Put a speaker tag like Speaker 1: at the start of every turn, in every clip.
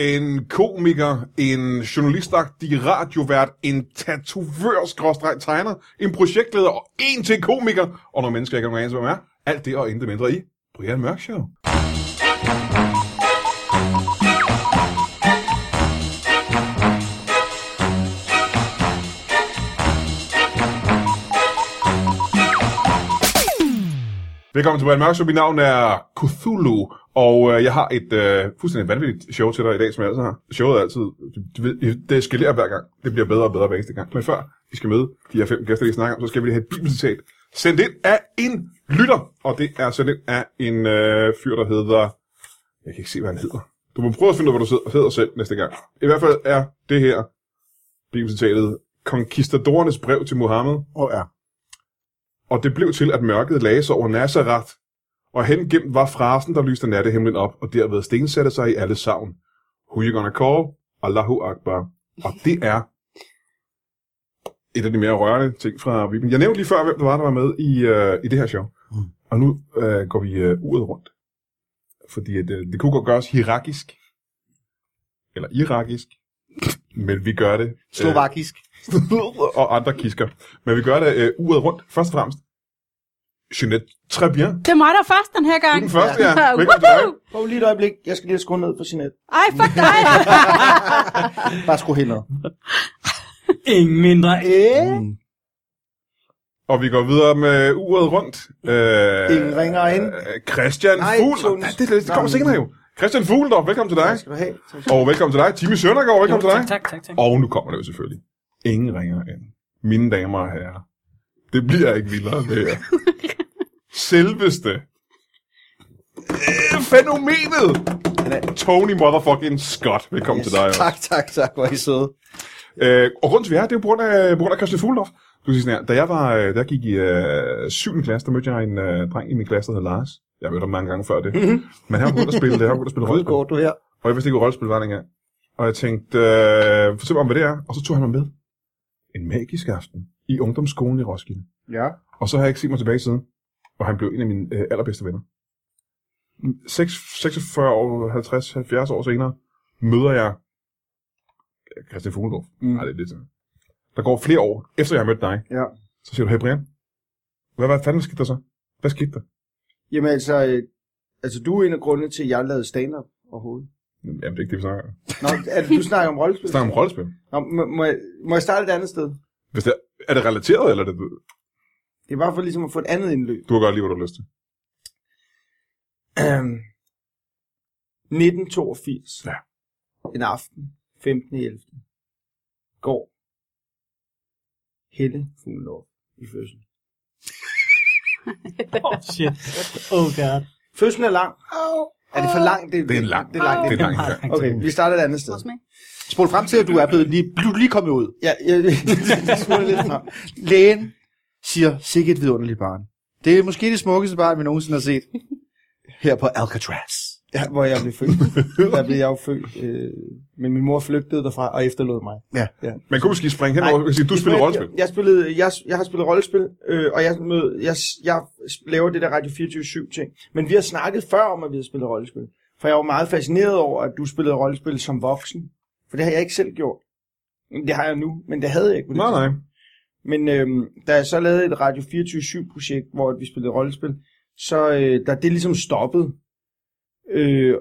Speaker 1: en komiker, en journalistagtig radiovært, en tatovør tegner, en projektleder og en til komiker, og nogle mennesker, jeg ikke har nogen anelse, hvem er. Alt det og intet mindre i Brian Mørk Show. Velkommen til Brian Mørk Show. Mit navn er Cthulhu, og øh, jeg har et øh, fuldstændig vanvittigt show til dig i dag, som jeg altid har. Showet er altid, du ved, det eskalerer hver gang. Det bliver bedre og bedre hver eneste gang. Men før I skal møde de her fem gæster, I snakker om, så skal vi lige have et bibelcitat sendt ind af en lytter. Og det er sendt ind af en øh, fyr, der hedder... Jeg kan ikke se, hvad han hedder. Du må prøve at finde ud af, hvad du hedder selv næste gang. I hvert fald er det her bibelcitatet Konkistadorernes brev til Mohammed
Speaker 2: Og er.
Speaker 1: og det blev til, at mørket lagde sig over Nazareth, og hengemt var frasen, der lyste nattehimlen op, og derved stensatte sig i alle savn. Who you gonna call? Allahu Akbar. Og det er et af de mere rørende ting fra Viben. Jeg nævnte lige før, hvem der var, der var med i, øh, i det her show.
Speaker 2: Mm.
Speaker 1: Og nu øh, går vi øh, uret rundt. Fordi at, øh, det kunne godt gøres hierarkisk. Eller irakisk. Men vi gør det. øh,
Speaker 2: Slovakisk.
Speaker 1: og andre kisker. Men vi gør det øh, uret rundt. Først og fremmest, Jeanette, très bien. Du
Speaker 3: Det er mig, der er først den her
Speaker 1: er
Speaker 3: gang.
Speaker 1: den første, ja.
Speaker 3: Ja.
Speaker 1: Velkommen til dig.
Speaker 3: Woohoo!
Speaker 2: Prøv lige et øjeblik. Jeg skal lige skrue ned for Jeanette.
Speaker 3: Ej, fuck dig.
Speaker 2: Bare skru helt ned.
Speaker 4: Ingen mindre end...
Speaker 2: Mm.
Speaker 1: Og vi går videre med uret rundt. Øh,
Speaker 2: Ingen ringer ind.
Speaker 1: Øh, Christian
Speaker 2: Nej,
Speaker 1: Fugl.
Speaker 2: Troels.
Speaker 1: Nej, det, det, det kommer
Speaker 2: Nej.
Speaker 1: senere jo. Christian Fugler, velkommen til dig.
Speaker 2: Tak skal du have. Tak.
Speaker 1: Og velkommen til dig. Timmy Søndergaard, velkommen til dig.
Speaker 4: Tak, tak, tak.
Speaker 1: Og nu kommer det jo selvfølgelig. Ingen ringer ind. Mine damer og herrer. Det bliver ikke vildere, det her. Selveste. Øh, fænomenet.
Speaker 2: Han er-
Speaker 1: Tony motherfucking Scott. Velkommen yes, til dig. også.
Speaker 2: Tak, tak, tak. Hvor er I søde.
Speaker 1: Øh, og grunden til, at vi er her, det er jo på grund af, på grund af Christian Fuglendorf. Du siger sådan her, da jeg, var, øh, da jeg gik i øh, 7. klasse, der mødte jeg en øh, dreng i min klasse, der hed Lars. Jeg har mødt ham mange gange før det. Men han var begyndt at spille, han var begyndt at spille rollespil.
Speaker 2: Udgår du her?
Speaker 1: Og jeg vidste ikke, hvad rollespil var dengang. Og jeg tænkte, øh, fortæl mig om, hvad det er. Og så tog han mig med. En magisk aften i ungdomsskolen i Roskilde.
Speaker 2: Ja.
Speaker 1: Og så har jeg ikke set mig tilbage siden. Og han blev en af mine øh, allerbedste venner. 6, 46 år, 50, 70 år senere, møder jeg Christian Fuglendorf. Mm. Nej, det er lidt sådan. Der går flere år, efter jeg har mødt dig.
Speaker 2: Ja.
Speaker 1: Så siger du, hey Brian, hvad, hvad fanden skete der så? Hvad skete der?
Speaker 2: Jamen altså, øh, altså du er en af grundene til, at jeg lavede stand-up overhovedet.
Speaker 1: Jamen, det er ikke det, vi snakker om.
Speaker 2: Nå, altså, du snakker om
Speaker 1: Vi
Speaker 2: rollespil.
Speaker 1: snakker om rollespil.
Speaker 2: Nå, må, må, jeg, må jeg starte et andet sted?
Speaker 1: Hvis det er, er det relateret, eller er det,
Speaker 2: Det er bare for ligesom at få et andet indløb.
Speaker 1: du har godt lige, hvad du har lyst til?
Speaker 2: 1982.
Speaker 1: Ja.
Speaker 2: En aften, 15.11. Går Helle Fuglendorf i fødsel.
Speaker 4: Oh, shit. Oh god.
Speaker 2: Fødslen er lang. Er det for langt?
Speaker 1: Det er en lang.
Speaker 2: Det er langt.
Speaker 1: Det
Speaker 4: Ah,
Speaker 1: er langt.
Speaker 2: Okay, vi starter et andet sted.
Speaker 3: Hos mig.
Speaker 5: Spol frem til, at du er blevet lige, du er lige kommet ud.
Speaker 2: Ja, jeg, jeg smutter lidt frem.
Speaker 5: Lægen siger, sikkert et vidunderligt barn. Det er måske det smukkeste barn, vi nogensinde har set. Her på Alcatraz.
Speaker 2: Ja, hvor jeg blev født. Der blev jeg jo født. Øh, men min mor flygtede derfra og efterlod mig.
Speaker 1: Man kunne måske springe hen
Speaker 2: Nej,
Speaker 1: over og sige, du spiller rollespil.
Speaker 2: Jeg, jeg, spillede, jeg, jeg har spillet rollespil, øh, og jeg, mød, jeg, jeg laver det der Radio 24-7 ting. Men vi har snakket før om, at vi har spillet rollespil. For jeg var meget fascineret over, at du spillede rollespil som voksen. For det har jeg ikke selv gjort. Det har jeg nu, men det havde jeg ikke. på det
Speaker 1: Nej, nej.
Speaker 2: Men øhm, da jeg så lavede et Radio 24-7-projekt, hvor vi spillede rollespil, så øh, da det ligesom stoppede, øh,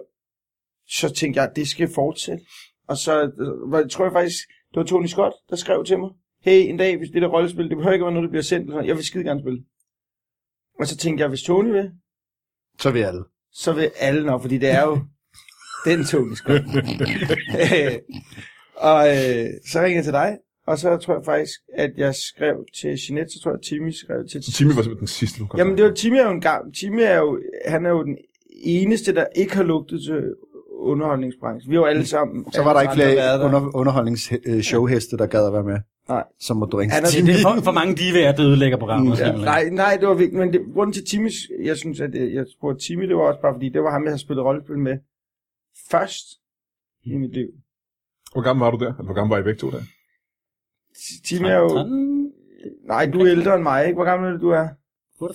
Speaker 2: så tænkte jeg, at det skal fortsætte. Og så øh, var, tror jeg faktisk, det var Tony Scott, der skrev til mig, hey, en dag, hvis det der rollespil, det behøver ikke at være noget, der bliver sendt, eller sådan noget. jeg vil skide gerne spille. Og så tænkte jeg, hvis Tony vil,
Speaker 5: Så er vi alle.
Speaker 2: så vil alle nok, fordi det er jo den Tony Scott. Øh, og øh, så ringede jeg til dig, og så tror jeg faktisk, at jeg skrev til Jeanette, så tror jeg, at Timmy skrev til...
Speaker 1: Så Timmy var simpelthen den sidste, du kom
Speaker 2: Jamen, det var, Timmy er jo en gang. Timmy er jo, han er jo den eneste, der ikke har lugtet til underholdningsbranchen. Vi er jo alle sammen...
Speaker 5: Så var der
Speaker 2: alle
Speaker 5: ikke
Speaker 2: andre,
Speaker 5: flere
Speaker 2: har været der.
Speaker 5: under, underholdningsshowheste, der gad at være med.
Speaker 2: Nej.
Speaker 5: Som må drink.
Speaker 2: Han er-
Speaker 4: Det er det for, for mange divaer, der ødelægger programmet.
Speaker 2: Ja,
Speaker 4: simpelthen.
Speaker 2: nej, nej, det var vigtigt, men det, grunden til Timmy, jeg synes, at øh, jeg spurgte Timmy, det var også bare, fordi det var ham, jeg havde spillet rollespil med først i
Speaker 5: Hmm.
Speaker 2: mit liv.
Speaker 1: Hvor gammel var du der? Eller hvor gammel var I begge to der?
Speaker 2: Timmy er jo... Nej, du er ældre end mig, ikke? Hvor gammel er det, du er?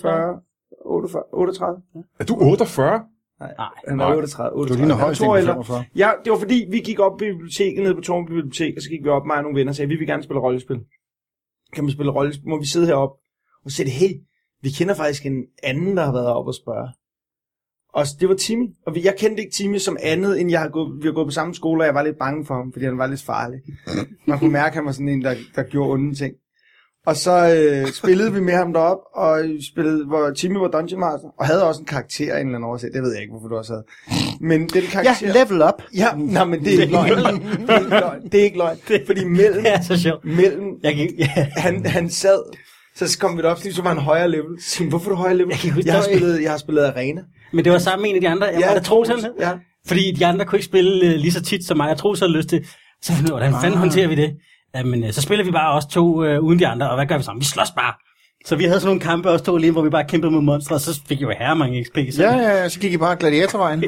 Speaker 2: 40? 48? 38?
Speaker 1: Er du 48?
Speaker 4: Nej.
Speaker 2: Han var
Speaker 1: Nej.
Speaker 2: 38,
Speaker 5: Du
Speaker 2: 38.
Speaker 5: ligner
Speaker 2: Han var
Speaker 5: højst
Speaker 2: to år ældre.
Speaker 5: 45.
Speaker 2: Ja, det var fordi, vi gik op i biblioteket, nede på Torben Bibliotek, og så gik vi op, mig og nogle venner, og sagde, vi vil gerne spille rollespil. Kan man spille rollespil? Må vi sidde heroppe? Og så sagde de, hey, vi kender faktisk en anden, der har været oppe og spørge. Og s- det var Timmy, og vi, jeg kendte ikke Timmy som andet, end jeg har gået, vi har gået på samme skole, og jeg var lidt bange for ham, fordi han var lidt farlig. Man kunne mærke, at han var sådan en, der, der gjorde onde ting. Og så øh, spillede vi med ham derop, og spillede, hvor Timmy var Dungeon Master, og havde også en karakter af en eller anden årsag. Det ved jeg ikke, hvorfor du også havde. Men den
Speaker 5: Ja,
Speaker 2: karakter...
Speaker 5: level up.
Speaker 2: Ja, nej, men det er ikke løgn. Det er ikke løgn. Det er ikke løgn. Fordi mellem,
Speaker 4: Det er så sjovt.
Speaker 2: mellem
Speaker 4: Jeg kan ikke... Ja.
Speaker 2: han, han sad, så kom vi op, så var han højere level. Så tænkte, jeg, hvorfor er du højere level?
Speaker 4: Jeg kan ikke huske,
Speaker 2: jeg, har
Speaker 4: der var-
Speaker 2: spillet, jeg har spillet arena.
Speaker 4: Men det var sammen med en af de andre. Jeg ja, var der troede han.
Speaker 2: Ja.
Speaker 4: Fordi de andre kunne ikke spille øh, lige så tit som mig. Jeg troede så havde lyst til. Så fandt jeg ud af, hvordan
Speaker 2: Ah.
Speaker 4: fanden håndterer vi det? Jamen, øh, så spiller vi bare os to øh, uden de andre, og hvad gør vi sammen? Vi slås bare. Så vi havde sådan nogle kampe også to alene, hvor vi bare kæmpede mod monstre, og så fik jeg jo herre mange XP. Så
Speaker 5: Ja, ja, ja, så gik I bare gladiatorvejen.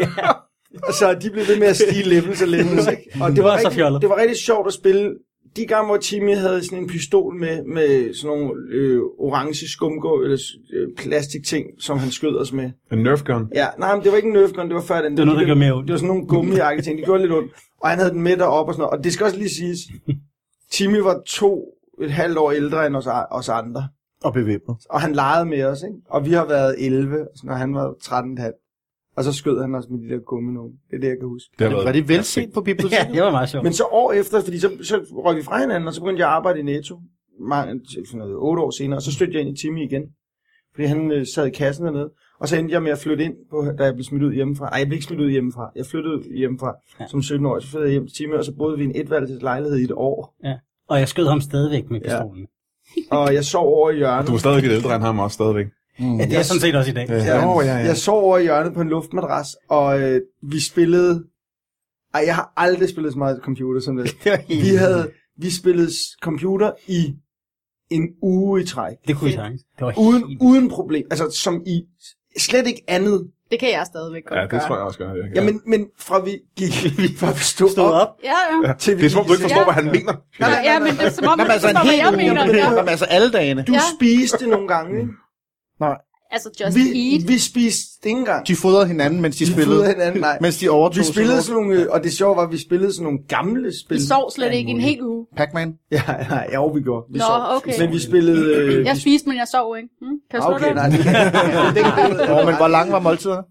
Speaker 2: Og så de blev ved med at stige levels og levels. ikke? Og det var,
Speaker 4: Det var så
Speaker 2: rigtig,
Speaker 4: fjollet.
Speaker 2: det var rigtig sjovt at spille. De gange, hvor Timmy havde sådan en pistol med, med sådan nogle øh, orange skumgå, eller øh, plastikting, som han skød os med.
Speaker 1: En nerf gun.
Speaker 2: Ja, nej, men det var ikke en Nerf Gun, det var før den.
Speaker 4: Det var noget, der gjorde mere ondt.
Speaker 2: Det var sådan nogle gummijakke ting, det gjorde lidt ondt. Og han havde den med deroppe og sådan noget. Og det skal også lige siges, Timmy var to et halvt år ældre end os, os andre.
Speaker 5: Og bevæbnet.
Speaker 2: Og han legede med os, ikke? Og vi har været 11, og sådan, og han var 13,5. Og så skød han os med de der gummi nogen. Det er det, jeg kan huske.
Speaker 1: Det har
Speaker 5: Var
Speaker 1: været...
Speaker 5: det velset på biblioteket?
Speaker 4: ja, det var meget sjovt.
Speaker 2: Men så år efter, fordi så, så røg vi fra hinanden, og så begyndte jeg at arbejde i Netto. Mange, sådan noget, otte år senere, og så stødte jeg ind i Timmy igen. Fordi han øh, sad i kassen dernede. Og så endte jeg med at flytte ind, på, da jeg blev smidt ud hjemmefra. Nej, jeg blev ikke smidt ud hjemmefra. Jeg flyttede hjemmefra ja. som 17-årig. Så flyttede jeg hjem til Timmy, og så boede vi i en etværelses lejlighed i et år.
Speaker 4: Og jeg skød ham stadigvæk med pistolen. Ja.
Speaker 2: Og jeg sov over i
Speaker 1: Du
Speaker 2: hjørnet.
Speaker 1: var stadig lidt ældre end ham også, stadigvæk.
Speaker 4: Ja, det er jeg sådan set også i dag. Ja.
Speaker 5: Ja, nå, ja, ja.
Speaker 2: Jeg sov over i hjørnet på en luftmadras, og øh, vi spillede... Ej, jeg har aldrig spillet så meget computer som det. Vi, havde, vi spillede s- computer i en uge i træk.
Speaker 4: Det kunne vi sagtens. Det var helt...
Speaker 2: Uden, uden problem. Altså, som i slet ikke andet.
Speaker 3: Det kan jeg stadigvæk godt
Speaker 1: Ja, det
Speaker 3: gøre.
Speaker 1: tror jeg også godt, jeg kan.
Speaker 2: Ja. Jamen, men fra vi gik, fra vi stod,
Speaker 4: Stod
Speaker 2: op,
Speaker 4: op.
Speaker 3: Ja, ja. Nej,
Speaker 2: til vi
Speaker 1: Det er som om, du ikke
Speaker 2: gik i
Speaker 1: forstår,
Speaker 3: Ja.
Speaker 1: hvad han mener.
Speaker 3: nej, ja, men det er som om,
Speaker 5: Nå,
Speaker 3: man
Speaker 5: men altså
Speaker 3: forstår,
Speaker 5: en
Speaker 3: hvad
Speaker 5: hel
Speaker 3: jeg
Speaker 5: uge.
Speaker 3: mener. Ja.
Speaker 5: Nå, men altså alle dagene.
Speaker 2: seng. Du
Speaker 3: Ja.
Speaker 2: spiste nogle gange. ikke?
Speaker 3: Altså, just
Speaker 2: Vi,
Speaker 3: eat.
Speaker 2: vi spiste ikke engang.
Speaker 5: De fodrede hinanden, mens de,
Speaker 2: Vi
Speaker 5: spillede.
Speaker 2: fodrede hinanden, nej.
Speaker 5: Mens de overtog.
Speaker 2: Vi spillede
Speaker 5: sådan
Speaker 2: sådan nogle, øh, og det sjove var, at vi spillede sådan nogle gamle spil.
Speaker 3: Vi sov slet ikke en hel uge.
Speaker 5: noget. Pac-Man.
Speaker 2: Ja, nej, ja, jo, vi gjorde. Vi
Speaker 3: Nå,
Speaker 2: sov.
Speaker 3: okay.
Speaker 2: Men vi spillede... Øh,
Speaker 3: Jeg
Speaker 2: vi-
Speaker 3: spiste, men jeg sov, ikke? Hm? Kan du
Speaker 2: Ah,
Speaker 3: slå
Speaker 2: okay,
Speaker 3: det?
Speaker 2: nej. det- det kan jeg ikke.
Speaker 5: Åh, men hvor lang var måltiderne?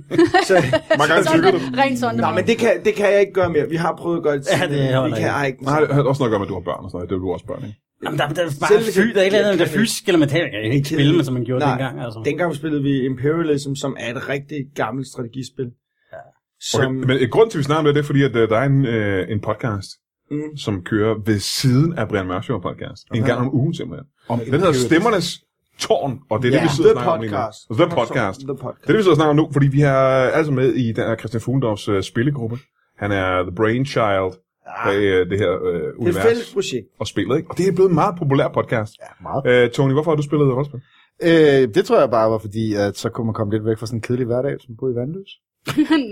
Speaker 2: Så-
Speaker 1: Mange gange
Speaker 3: Sådan,
Speaker 1: tykker du.
Speaker 3: rent sådan.
Speaker 2: Nå, Ah, men det kan, det kan jeg ikke gøre mere. Vi har prøvet at gøre det.
Speaker 4: Ja, det
Speaker 2: tidligere.
Speaker 4: holder
Speaker 2: vi kan,
Speaker 4: ikke.
Speaker 2: ej, ikke.
Speaker 1: Nej, det har også noget at gøre med, at du har børn og sådan noget. Det er jo du også børn, ikke?
Speaker 4: Jamen, der, der, er bare
Speaker 2: Selv-
Speaker 4: fy, der er et eller andet, der er fysisk eller mentalt. Jeg kan ikke spille med, som man gjorde
Speaker 2: Nej.
Speaker 4: dengang. Altså.
Speaker 2: Dengang spillede vi Imperialism, som er et rigtig gammelt strategispil. Ja.
Speaker 1: Okay,
Speaker 2: Som,
Speaker 1: men et grund til, at vi snakker om det, det er fordi, at øh, der er en, øh, en podcast,
Speaker 2: mm,
Speaker 1: som kører ved siden af Brian Mørk Show podcast. En gang om ugen simpelthen.
Speaker 5: Om
Speaker 1: Den hedder Stemmernes Tårn, og det er det, vi sidder og
Speaker 2: the
Speaker 1: snakker om lige nu.
Speaker 2: podcast.
Speaker 1: The Podcast.
Speaker 2: The podcast.
Speaker 1: Det er det, vi sidder og snakker om nu, fordi vi har altså med i den her Christian Fuglendorfs øh, spillegruppe. Han er the brainchild
Speaker 5: Ah.
Speaker 1: bag øh, det her øh,
Speaker 2: Det er et fælles
Speaker 1: univers
Speaker 2: projekt.
Speaker 1: og spillet, ikke? Og det er blevet en meget populær podcast.
Speaker 5: Ja, meget.
Speaker 1: Øh, Tony, hvorfor har du spillet rollespil?
Speaker 5: Øh, det tror jeg bare var fordi, at så kunne man komme lidt væk fra sådan en kedelig hverdag, som boede i Vandløs.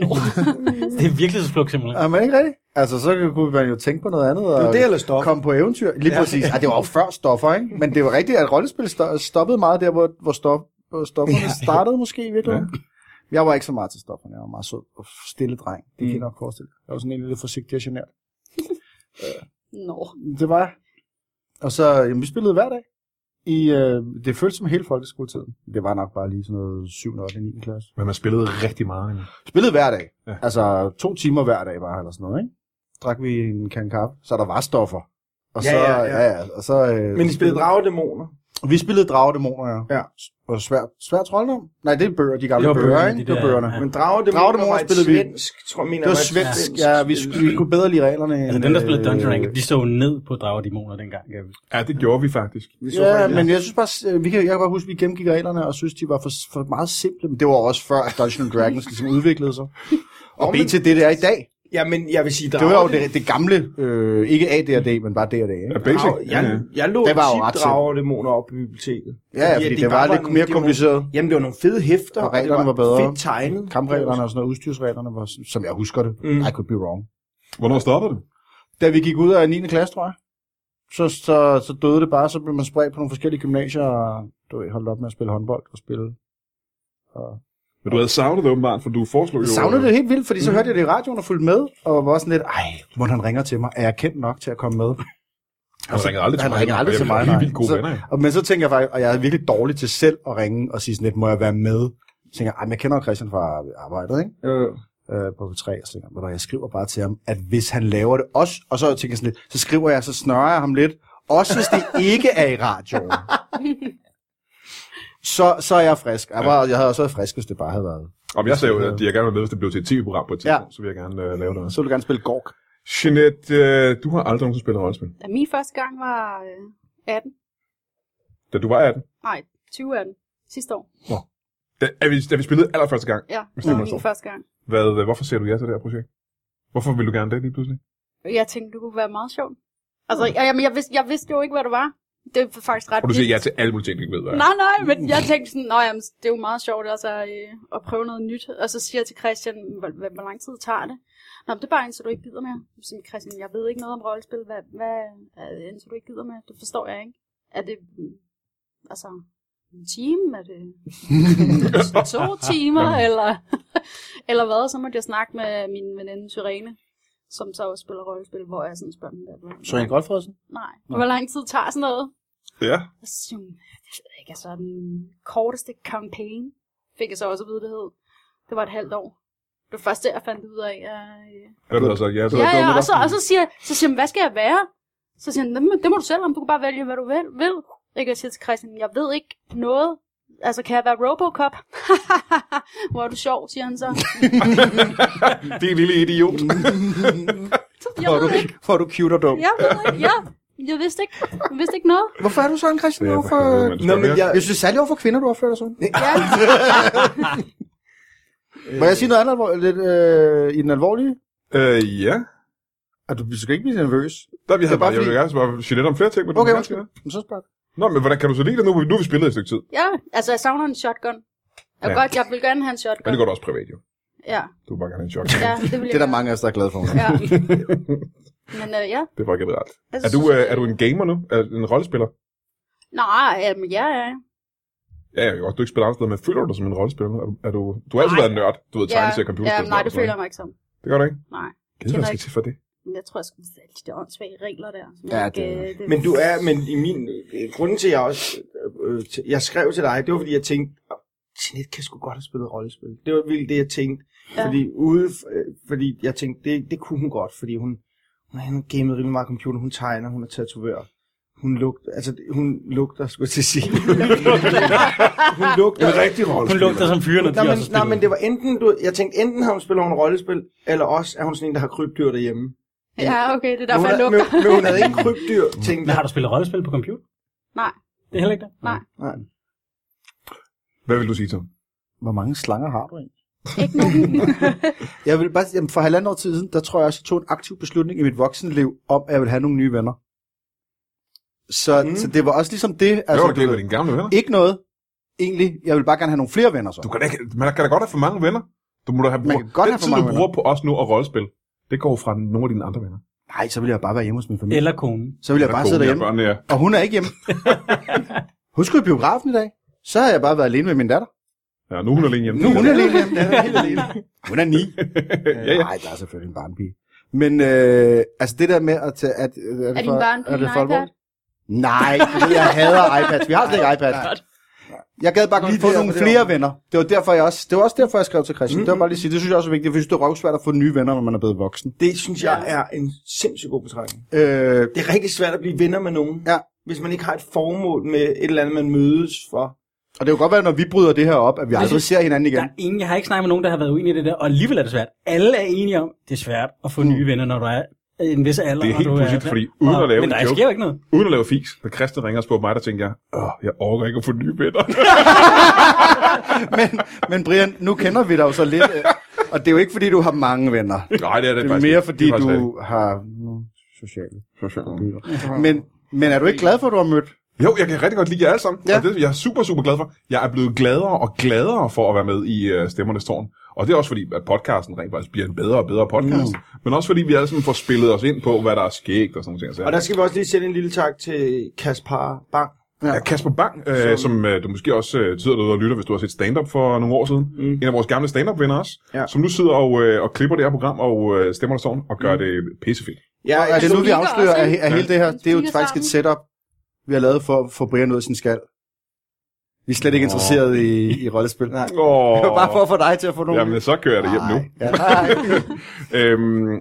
Speaker 3: Nå.
Speaker 4: Det er virkelig så fluk, simpelthen.
Speaker 5: Er man ikke rigtigt? Altså, så kunne man jo tænke på noget andet.
Speaker 2: Det er
Speaker 5: Og
Speaker 2: det, eller stop.
Speaker 5: komme på eventyr. Lige
Speaker 2: Ja.
Speaker 5: præcis. Ej, det var jo før stoffer, ikke? Men det var rigtigt, at rollespil sto- stoppede meget der, hvor, hvor, stof, hvor stofferne startede måske i virkeligheden. Jeg var ikke så meget til stofferne. Jeg var meget sød og stille dreng. Det kan
Speaker 2: Mm.
Speaker 5: jeg nok forestille. Jeg var sådan en lidt forsigtig og genert.
Speaker 3: Nå.
Speaker 5: Det var jeg. Og så, jamen, vi spillede hver dag. I, øh, det føltes som hele folkeskoletiden. Det var nok bare lige sådan noget 7. 8. 9. klasse.
Speaker 1: Men man spillede rigtig meget. ikke?
Speaker 5: Spillede hver dag.
Speaker 1: Ja.
Speaker 5: Ja. Altså to timer hver dag bare, eller sådan noget, ikke? Drak vi en kan kaffe, så der var stoffer. Og
Speaker 2: Ja,
Speaker 5: så,
Speaker 2: ja, ja.
Speaker 5: og så, øh,
Speaker 2: Men I spillede dragedæmoner.
Speaker 5: Vi spillede dragedæmoner, ja.
Speaker 2: Ja.
Speaker 5: Og svær, svær trolddom? Nej, det er bøger, de gamle
Speaker 4: Det var
Speaker 5: bøger,
Speaker 4: bøgerne,
Speaker 5: ikke?
Speaker 4: de
Speaker 5: det var
Speaker 4: der,
Speaker 5: bøgerne.
Speaker 4: ja.
Speaker 2: Men dragedæmoner
Speaker 5: Dragedæmoner
Speaker 2: var et
Speaker 5: spillede vi.
Speaker 2: svensk, tror jeg, mener,
Speaker 5: Det var
Speaker 2: var et
Speaker 5: svensk, ja, vi, vi kunne bedre lide reglerne.
Speaker 4: Altså,
Speaker 5: end,
Speaker 4: dem, der spillede
Speaker 5: øh,
Speaker 4: Dungeon Rank, de så jo ned på drager dæmoner dengang. kan jeg huske.
Speaker 1: Ja, det gjorde vi faktisk.
Speaker 2: Vi så
Speaker 5: Ja,
Speaker 2: faktisk-
Speaker 5: men jeg synes bare, øh, vi kan, jeg kan bare huske, at vi gennemgik reglerne og synes, de var for, for meget simple. Men det var også før, at Dungeons and Dragons ligesom udviklede sig. Og
Speaker 2: men-
Speaker 5: B til det, det er i dag.
Speaker 2: ja, men jeg vil sige,
Speaker 5: Det var jo
Speaker 2: dragedæmoner-
Speaker 5: det, det gamle, øh, ikke AD&D, men bare D&D.
Speaker 1: Ja,
Speaker 5: Ikke?
Speaker 1: basic.
Speaker 2: Drag-
Speaker 1: Ja,
Speaker 2: Jeg,
Speaker 1: ja.
Speaker 2: jeg lå
Speaker 5: Det var jo
Speaker 2: tit
Speaker 5: ret
Speaker 2: dragedæmoner op i biblioteket.
Speaker 5: Ja, ja, fordi
Speaker 2: at
Speaker 5: det var
Speaker 2: bare
Speaker 5: lidt
Speaker 2: nogle-
Speaker 5: mere
Speaker 2: det var nogle-
Speaker 5: kompliceret.
Speaker 2: Jamen, det var nogle fede hæfter,
Speaker 5: Og reglerne var bedre.
Speaker 2: fedt tegnet.
Speaker 5: Kampreglerne og sådan noget, udstyrsreglerne, var, som jeg husker det.
Speaker 2: Mm.
Speaker 5: I could be wrong.
Speaker 1: Hvornår stoppede det?
Speaker 5: da vi gik ud af 9. klasse, tror jeg, så, så, så døde det bare, så blev man spredt på nogle forskellige gymnasier, og du ved, holdt op med at spille håndbold og spille. Og,
Speaker 1: Men du havde savnet det åbenbart, for du foreslog jo...
Speaker 5: Jeg savnede det helt vildt, fordi så hørte jeg det i radioen og fulgte med, og var sådan lidt, ej, må han ringer til mig? Er jeg kendt nok til at komme med?
Speaker 1: Han ringede aldrig til
Speaker 5: Han
Speaker 1: mig.
Speaker 5: ringer aldrig
Speaker 1: og jeg
Speaker 5: til mig,
Speaker 1: blev
Speaker 5: nej.
Speaker 1: helt vildt gode
Speaker 5: så,
Speaker 1: venner, ja.
Speaker 5: og, men så tænker jeg faktisk, og jeg er virkelig dårlig til selv at ringe og sige sådan lidt, må jeg være med? Så tænker jeg, ej, men jeg kender jo Christian fra arbejdet, ikke?
Speaker 2: Øh,
Speaker 5: øh, på P3, og så tænker jeg, "Ved du hvad, jeg skriver bare til ham, at hvis han laver det også, og så tænker jeg sådan lidt, så skriver jeg, så snører jeg ham lidt, også hvis det ikke er i radioen. så, så er jeg frisk. Jeg, var, jeg havde også været frisk, hvis det bare havde været.
Speaker 1: Om jeg sagde jo, at jeg gerne ville med, hvis det blev til et tv-program på et tidspunkt, så vil jeg gerne øh, lave det også.
Speaker 5: Så ville du gerne spille Gork.
Speaker 1: Jeanette, øh, du har aldrig nogensinde spillet rollespil,
Speaker 3: Da min første gang var øh, 18.
Speaker 1: da du var 18.
Speaker 3: Nej, 20 18. Sidste år.
Speaker 1: Da, er vi, da vi spillede allerførste gang,
Speaker 3: Ja,
Speaker 1: Hvis
Speaker 3: det
Speaker 1: det var
Speaker 3: var
Speaker 1: så.
Speaker 3: min første gang.
Speaker 1: hvad, øh, hvorfor ser du ja til det her projekt? Hvorfor vil du gerne det lige pludselig?
Speaker 3: Jeg tænkte, det kunne være meget sjovt. Altså, jeg, jamen, jeg, vidste, jeg vidste jo ikke, hvad det var. Det var faktisk ret
Speaker 1: Og du siger ja
Speaker 3: vildt.
Speaker 1: til alle mulige ting, du ikke ved, hvad er.
Speaker 3: Nej, nej, men jeg tænkte sådan, nej, jamen, det er jo meget sjovt altså, øh, at prøve noget nyt. Og så siger jeg til Christian, hvor, hvor, hvor lang tid tager det? Nå, men det er bare indtil du ikke gider mere. Så siger jeg, Christian, jeg ved ikke noget om rollespil. Hvad, hvad er indtil du ikke gider mere? Det forstår jeg ikke. Er det, mm, altså, en time? Er det to timer? eller, eller hvad? Så måtte jeg snakke med min veninde Syrene, som så også spiller rollespil, hvor jeg sådan spørger hende, hvad-
Speaker 4: Så en Godfredsen?
Speaker 3: Nej, hvor lang tid tager sådan noget?
Speaker 1: Ja,
Speaker 3: Og så siger hun, det ved jeg ikke, altså den korteste campaign, fik jeg så også at vide, det hed. Det var et halvt år. Det var først der, jeg fandt ud af. at, øh,
Speaker 1: hvad du har sagt ja til.
Speaker 3: ja, ja, og så, og så siger, så siger hun, hvad skal jeg være? Så siger hun, det må- det må du selv om, du kan bare vælge, hvad du vil. vil. Ikke? Jeg siger til Christian, jeg ved ikke noget. Altså, kan jeg være Robocop? Hvor er du sjov, siger han så.
Speaker 1: Din lille idiot.
Speaker 3: Jeg
Speaker 5: Hvor er du,
Speaker 3: ved ikke,
Speaker 5: hvor er du cute og dum.
Speaker 3: jeg ved ikke, ja. Jeg vidste ikke, jeg vidste ikke noget.
Speaker 5: Hvorfor er du sådan, Christian?
Speaker 1: Det er
Speaker 5: Hvorfor...
Speaker 1: for helvede, mand. Du
Speaker 5: Nå,
Speaker 1: skal
Speaker 5: men
Speaker 1: være.
Speaker 5: jeg, jeg synes særlig overfor kvinder, du opfører dig sådan.
Speaker 3: Ja,
Speaker 5: Må jeg sige noget andet alvor- lidt, øh, i den alvorlige?
Speaker 1: øh, ja.
Speaker 5: At du, du skal ikke blive nervøs.
Speaker 1: Der, vi havde
Speaker 5: bare
Speaker 1: bare, jeg vil
Speaker 5: fordi-
Speaker 1: gerne spørge Jeanette om flere ting, men du
Speaker 5: Okay,
Speaker 1: vil gerne
Speaker 5: undskyld.
Speaker 1: sige
Speaker 5: Men så spørg.
Speaker 1: det. Nå, men hvordan kan du så lide det nu? Nu har vi spillet et stykke tid.
Speaker 3: ja, altså jeg savner en shotgun. Jeg,
Speaker 1: Ja.
Speaker 3: ja. godt, jeg vil gerne have en shotgun.
Speaker 1: Men det går da også privat, jo.
Speaker 3: Ja,
Speaker 1: Du vil bare gerne have en chok.
Speaker 3: ja, det vil jeg
Speaker 5: Det er der
Speaker 3: gerne.
Speaker 5: mange af os, der er glade for.
Speaker 3: Ja. Men øh, ja.
Speaker 1: Det er bare generelt.
Speaker 3: Jeg
Speaker 1: Er du,
Speaker 3: synes-
Speaker 1: øh, er du en gamer nu? Er du en rollespiller?
Speaker 3: Nej, jamen, ja, ja.
Speaker 1: Ja, jeg kan godt. Du ikke spiller andre steder, men føler du dig som en rollespiller? nu? Er du, er du, du har altid
Speaker 3: Nej.
Speaker 1: været en nørd. Du ved,
Speaker 3: ja,
Speaker 1: tegnet til computerspil.
Speaker 3: ja, nej, det føler jeg mig ikke som.
Speaker 1: Det gør du ikke?
Speaker 3: Nej.
Speaker 1: Gider du, hvad
Speaker 3: Kender
Speaker 1: skal
Speaker 3: ikke.
Speaker 1: til for det?
Speaker 3: Men jeg tror, jeg skulle sætte de der åndssvage regler der. som
Speaker 5: Ja,
Speaker 3: jeg ikke,
Speaker 5: det er-
Speaker 3: øh, det-
Speaker 2: men du er, men i min, øh, grunden til, at jeg også, øh, øh, til- jeg skrev til dig, det var, fordi jeg tænkte, "Åh, Jeanette kan sgu godt have spillet rollespil. Det var virkelig det, jeg tænkte.
Speaker 3: Ja.
Speaker 2: Fordi, ude, øh, fordi jeg tænkte, det, det kunne hun godt, fordi hun, hun har gamet rimelig meget computer, hun tegner, hun er tatovør. Hun lugter, altså det- hun lugter, skulle jeg til at sige. hun lugter. En rigtig rolle.
Speaker 4: Hun lugter som fyren, og de
Speaker 2: Nej, men,
Speaker 4: også
Speaker 2: nej, men det var enten, du, jeg tænkte, enten har hun spillet nogle rollespil, eller også er hun sådan en, der har krybdyr derhjemme.
Speaker 3: Ja, okay, det er
Speaker 2: Men
Speaker 3: derfor, jeg
Speaker 2: hun,
Speaker 3: lugter.
Speaker 2: men, men hun havde ikke krybdyr, tænkte
Speaker 4: Men har du spillet rollespil på computer?
Speaker 3: Nej.
Speaker 4: Det er heller ikke det?
Speaker 3: Nej.
Speaker 2: Nej.
Speaker 1: Hvad vil du sige til ham?
Speaker 5: Hvor mange slanger har du egentlig?
Speaker 3: Ikke nogen.
Speaker 5: Jeg vil bare, jamen for halvandet år siden, der tror jeg også, jeg tog en aktiv beslutning i mit voksenliv, om at jeg ville have nogle nye venner. Så,
Speaker 2: Mm.
Speaker 5: mm. så det var også ligesom det.
Speaker 1: Hvad var
Speaker 5: du
Speaker 1: det galt
Speaker 5: ved,
Speaker 1: med dine gamle venner?
Speaker 5: ikke noget, egentlig. Jeg vil bare gerne have nogle flere venner så.
Speaker 1: Du kan da ikke, man kan da godt have for mange venner. Du må da have
Speaker 5: Man
Speaker 1: brug...
Speaker 5: kan godt
Speaker 1: Den
Speaker 5: have for
Speaker 1: tid,
Speaker 5: mange
Speaker 1: du bruger på os nu og rollespil, det går fra nogle af dine andre venner.
Speaker 5: Nej, så vil jeg bare være hjemme hos min familie.
Speaker 4: Eller konen.
Speaker 5: Så vil jeg bare sidde derhjemme.
Speaker 1: Børn, ja.
Speaker 5: Og hun er ikke hjemme. hun skulle i biografen i dag. Så har jeg bare været alene med min datter.
Speaker 1: ja, nu er hun alene hjemme.
Speaker 5: Nu er hun alene hjemme. Ja, helt alene. Hun er ni.
Speaker 1: ja, ja.
Speaker 5: Nej, der er selvfølgelig en barnpige. Men øh, altså det der med at tage... At, øh, er, det
Speaker 3: din barnepige en
Speaker 5: for alvorligt?
Speaker 3: iPad?
Speaker 5: Nej, du ved, jeg hader iPads. Vi har slet ikke iPads. Jeg gad bare godt
Speaker 2: Lige
Speaker 5: få
Speaker 2: der,
Speaker 5: nogle
Speaker 2: på det
Speaker 5: flere
Speaker 2: område.
Speaker 5: venner. Det var, derfor, jeg også, det var også derfor, jeg skrev til Christian. Mm-hmm. Det var bare lige at sige, det synes jeg også er vigtigt, for jeg synes, det er røvsvært at få nye venner, når man er blevet voksen.
Speaker 2: Det synes jeg er en sindssygt god betragtning.
Speaker 5: Øh,
Speaker 2: Det er rigtig svært at blive venner med nogen,
Speaker 5: Ja.
Speaker 2: hvis man ikke har et formål med et eller andet, man mødes for.
Speaker 5: og det kan godt være, når vi bryder det her op, at vi aldrig ser hinanden
Speaker 4: Der
Speaker 5: igen.
Speaker 4: er ingen, jeg har ikke snakket med nogen, der har været uenige i det der, og alligevel er det svært. Alle er enige om, det er svært at få nye venner, når du er i en vis alder.
Speaker 1: Det er helt
Speaker 4: og du
Speaker 1: pudsigt, fordi uden at lave
Speaker 4: Men
Speaker 1: en
Speaker 4: der
Speaker 1: joke-
Speaker 4: sker jo ikke noget.
Speaker 1: Uden at lave fis, da Christian ringer og spørger mig, der tænker jeg, Åh, jeg orker ikke at få nye venner.
Speaker 5: men, men Brian, nu kender vi dig jo så lidt. øh, Og det er jo ikke, fordi du har mange venner.
Speaker 1: Nej, det er det,
Speaker 5: Det er
Speaker 1: faktisk
Speaker 5: mere,
Speaker 1: ikke.
Speaker 5: fordi
Speaker 1: Det er faktisk
Speaker 5: du har nogle sociale
Speaker 1: rigtigt.
Speaker 5: byer. Men, men er du ikke glad for, at du har mødt?
Speaker 1: Jo, jeg kan rigtig godt lide jer alle sammen.
Speaker 5: Ja.
Speaker 1: Ja. Og det, jeg er super, super glad for. Jeg er blevet gladere og gladere for at være med i øh, Stemmernes Tårn. Og det er også fordi, at podcasten rent faktisk bliver en bedre og bedre podcast. Mm. Men også fordi, vi alle sammen får spillet os ind på, hvad der er skægt og sådan noget.
Speaker 2: Og der skal vi også lige sende en lille tak til Kaspar Bang,
Speaker 1: Ja. Kasper Bang, øh, som øh, du måske også øh, sidder derude og lytter, hvis du har set stand-up for nogle år siden. Mm. En af vores gamle stand-up-venner også, ja.
Speaker 2: Ja.
Speaker 1: som nu sidder og, øh, og klipper det her program og øh, stemmer der sådan og gør mm. det pissefedt.
Speaker 2: Ja,
Speaker 5: Og altså,
Speaker 2: altså,
Speaker 5: det er nu, vi
Speaker 3: ligger
Speaker 5: afslører,
Speaker 3: også,
Speaker 5: at,
Speaker 3: ikke?
Speaker 5: at hele det her, det er jo
Speaker 3: Ligger
Speaker 5: faktisk et setup, vi har lavet for at få Brian ud af sin skal. Vi er slet
Speaker 1: Nå.
Speaker 5: ikke interesseret i, i rollespil. Nej.
Speaker 1: Åh,
Speaker 5: Det var bare for at få dig til at få nogle...
Speaker 1: Jamen, så kører jeg det hjem nu.
Speaker 5: Nej. Ja, nej.
Speaker 1: Øhm, øh,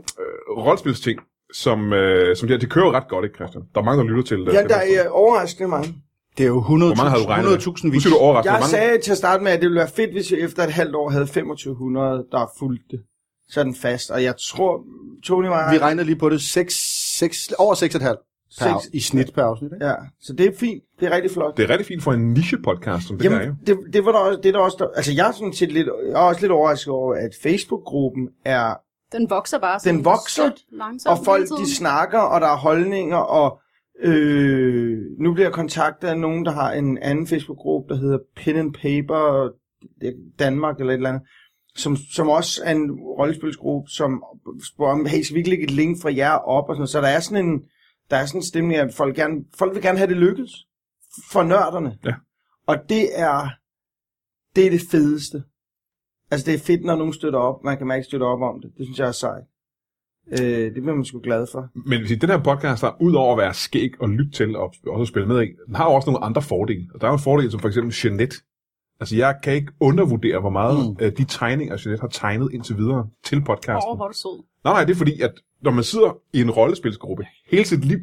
Speaker 1: rollespilsting, som, øh, som det, her, det kører jo ret godt, ikke Christian? Der er mange, der lytter til øh,
Speaker 2: ja,
Speaker 1: det.
Speaker 2: der er overraskende mange.
Speaker 5: Det er jo 100.000
Speaker 1: Hvor mange har du regnet?
Speaker 5: 100.000
Speaker 1: Nu
Speaker 5: vis.
Speaker 1: siger du overraskende.
Speaker 2: Jeg
Speaker 1: Hvor mange...
Speaker 2: sagde til at starte med, at det ville være fedt, hvis jeg efter et halvt år havde 2500, der fulgte det. sådan fast. Og jeg tror, Tony var...
Speaker 5: Vi regnede lige på det 6, 6, over 6,5 per,
Speaker 2: Seks-
Speaker 5: i snit per afsnit. Ikke?
Speaker 2: Ja, så det er fint. Det er rigtig flot.
Speaker 1: Det er rigtig fint for en niche-podcast, som det Jamen,
Speaker 2: Jamen,
Speaker 1: der er jo.
Speaker 2: det, det var der også, det er der også, der, altså jeg er sådan set lidt, jeg er også lidt overrasket over, at Facebook-gruppen er,
Speaker 3: Den vokser bare.
Speaker 2: Den
Speaker 3: sådan
Speaker 2: vokser,
Speaker 3: sødt langsomt
Speaker 2: og folk
Speaker 3: hele tiden.
Speaker 2: de snakker, og der er holdninger, og øh, nu bliver jeg kontaktet af nogen, der har en anden Facebook-gruppe, der hedder Pen and Paper Danmark, eller et eller andet, som, som også er en rollespilsgruppe, som spørger om, hey, skal vi ikke lægge et link fra jer op, og sådan noget. så der er sådan en, der er sådan en stemning, at folk, gerne, folk vil gerne have det lykkes, for nørderne.
Speaker 1: Ja.
Speaker 2: Og det er, det er det fedeste. Altså, det er fedt, når nogen støtter op. Man kan mærke, at de støtter op om det. Det synes jeg er sejt. Øh, det bliver man sgu glad for.
Speaker 1: Men hvis I- den her podcast, der ud over at være skæg og lytte til og sp- også spille med i, den har jo også nogle andre fordele. Og Der er jo en fordel som for eksempel Jeanette. Altså, jeg kan ikke undervurdere, hvor meget mm. de tegninger, Jeanette har tegnet indtil videre til podcasten.
Speaker 3: Åh, hvor er du sød.
Speaker 1: Nej, nej, det er fordi, at når man sidder i en rollespilsgruppe hele sit liv,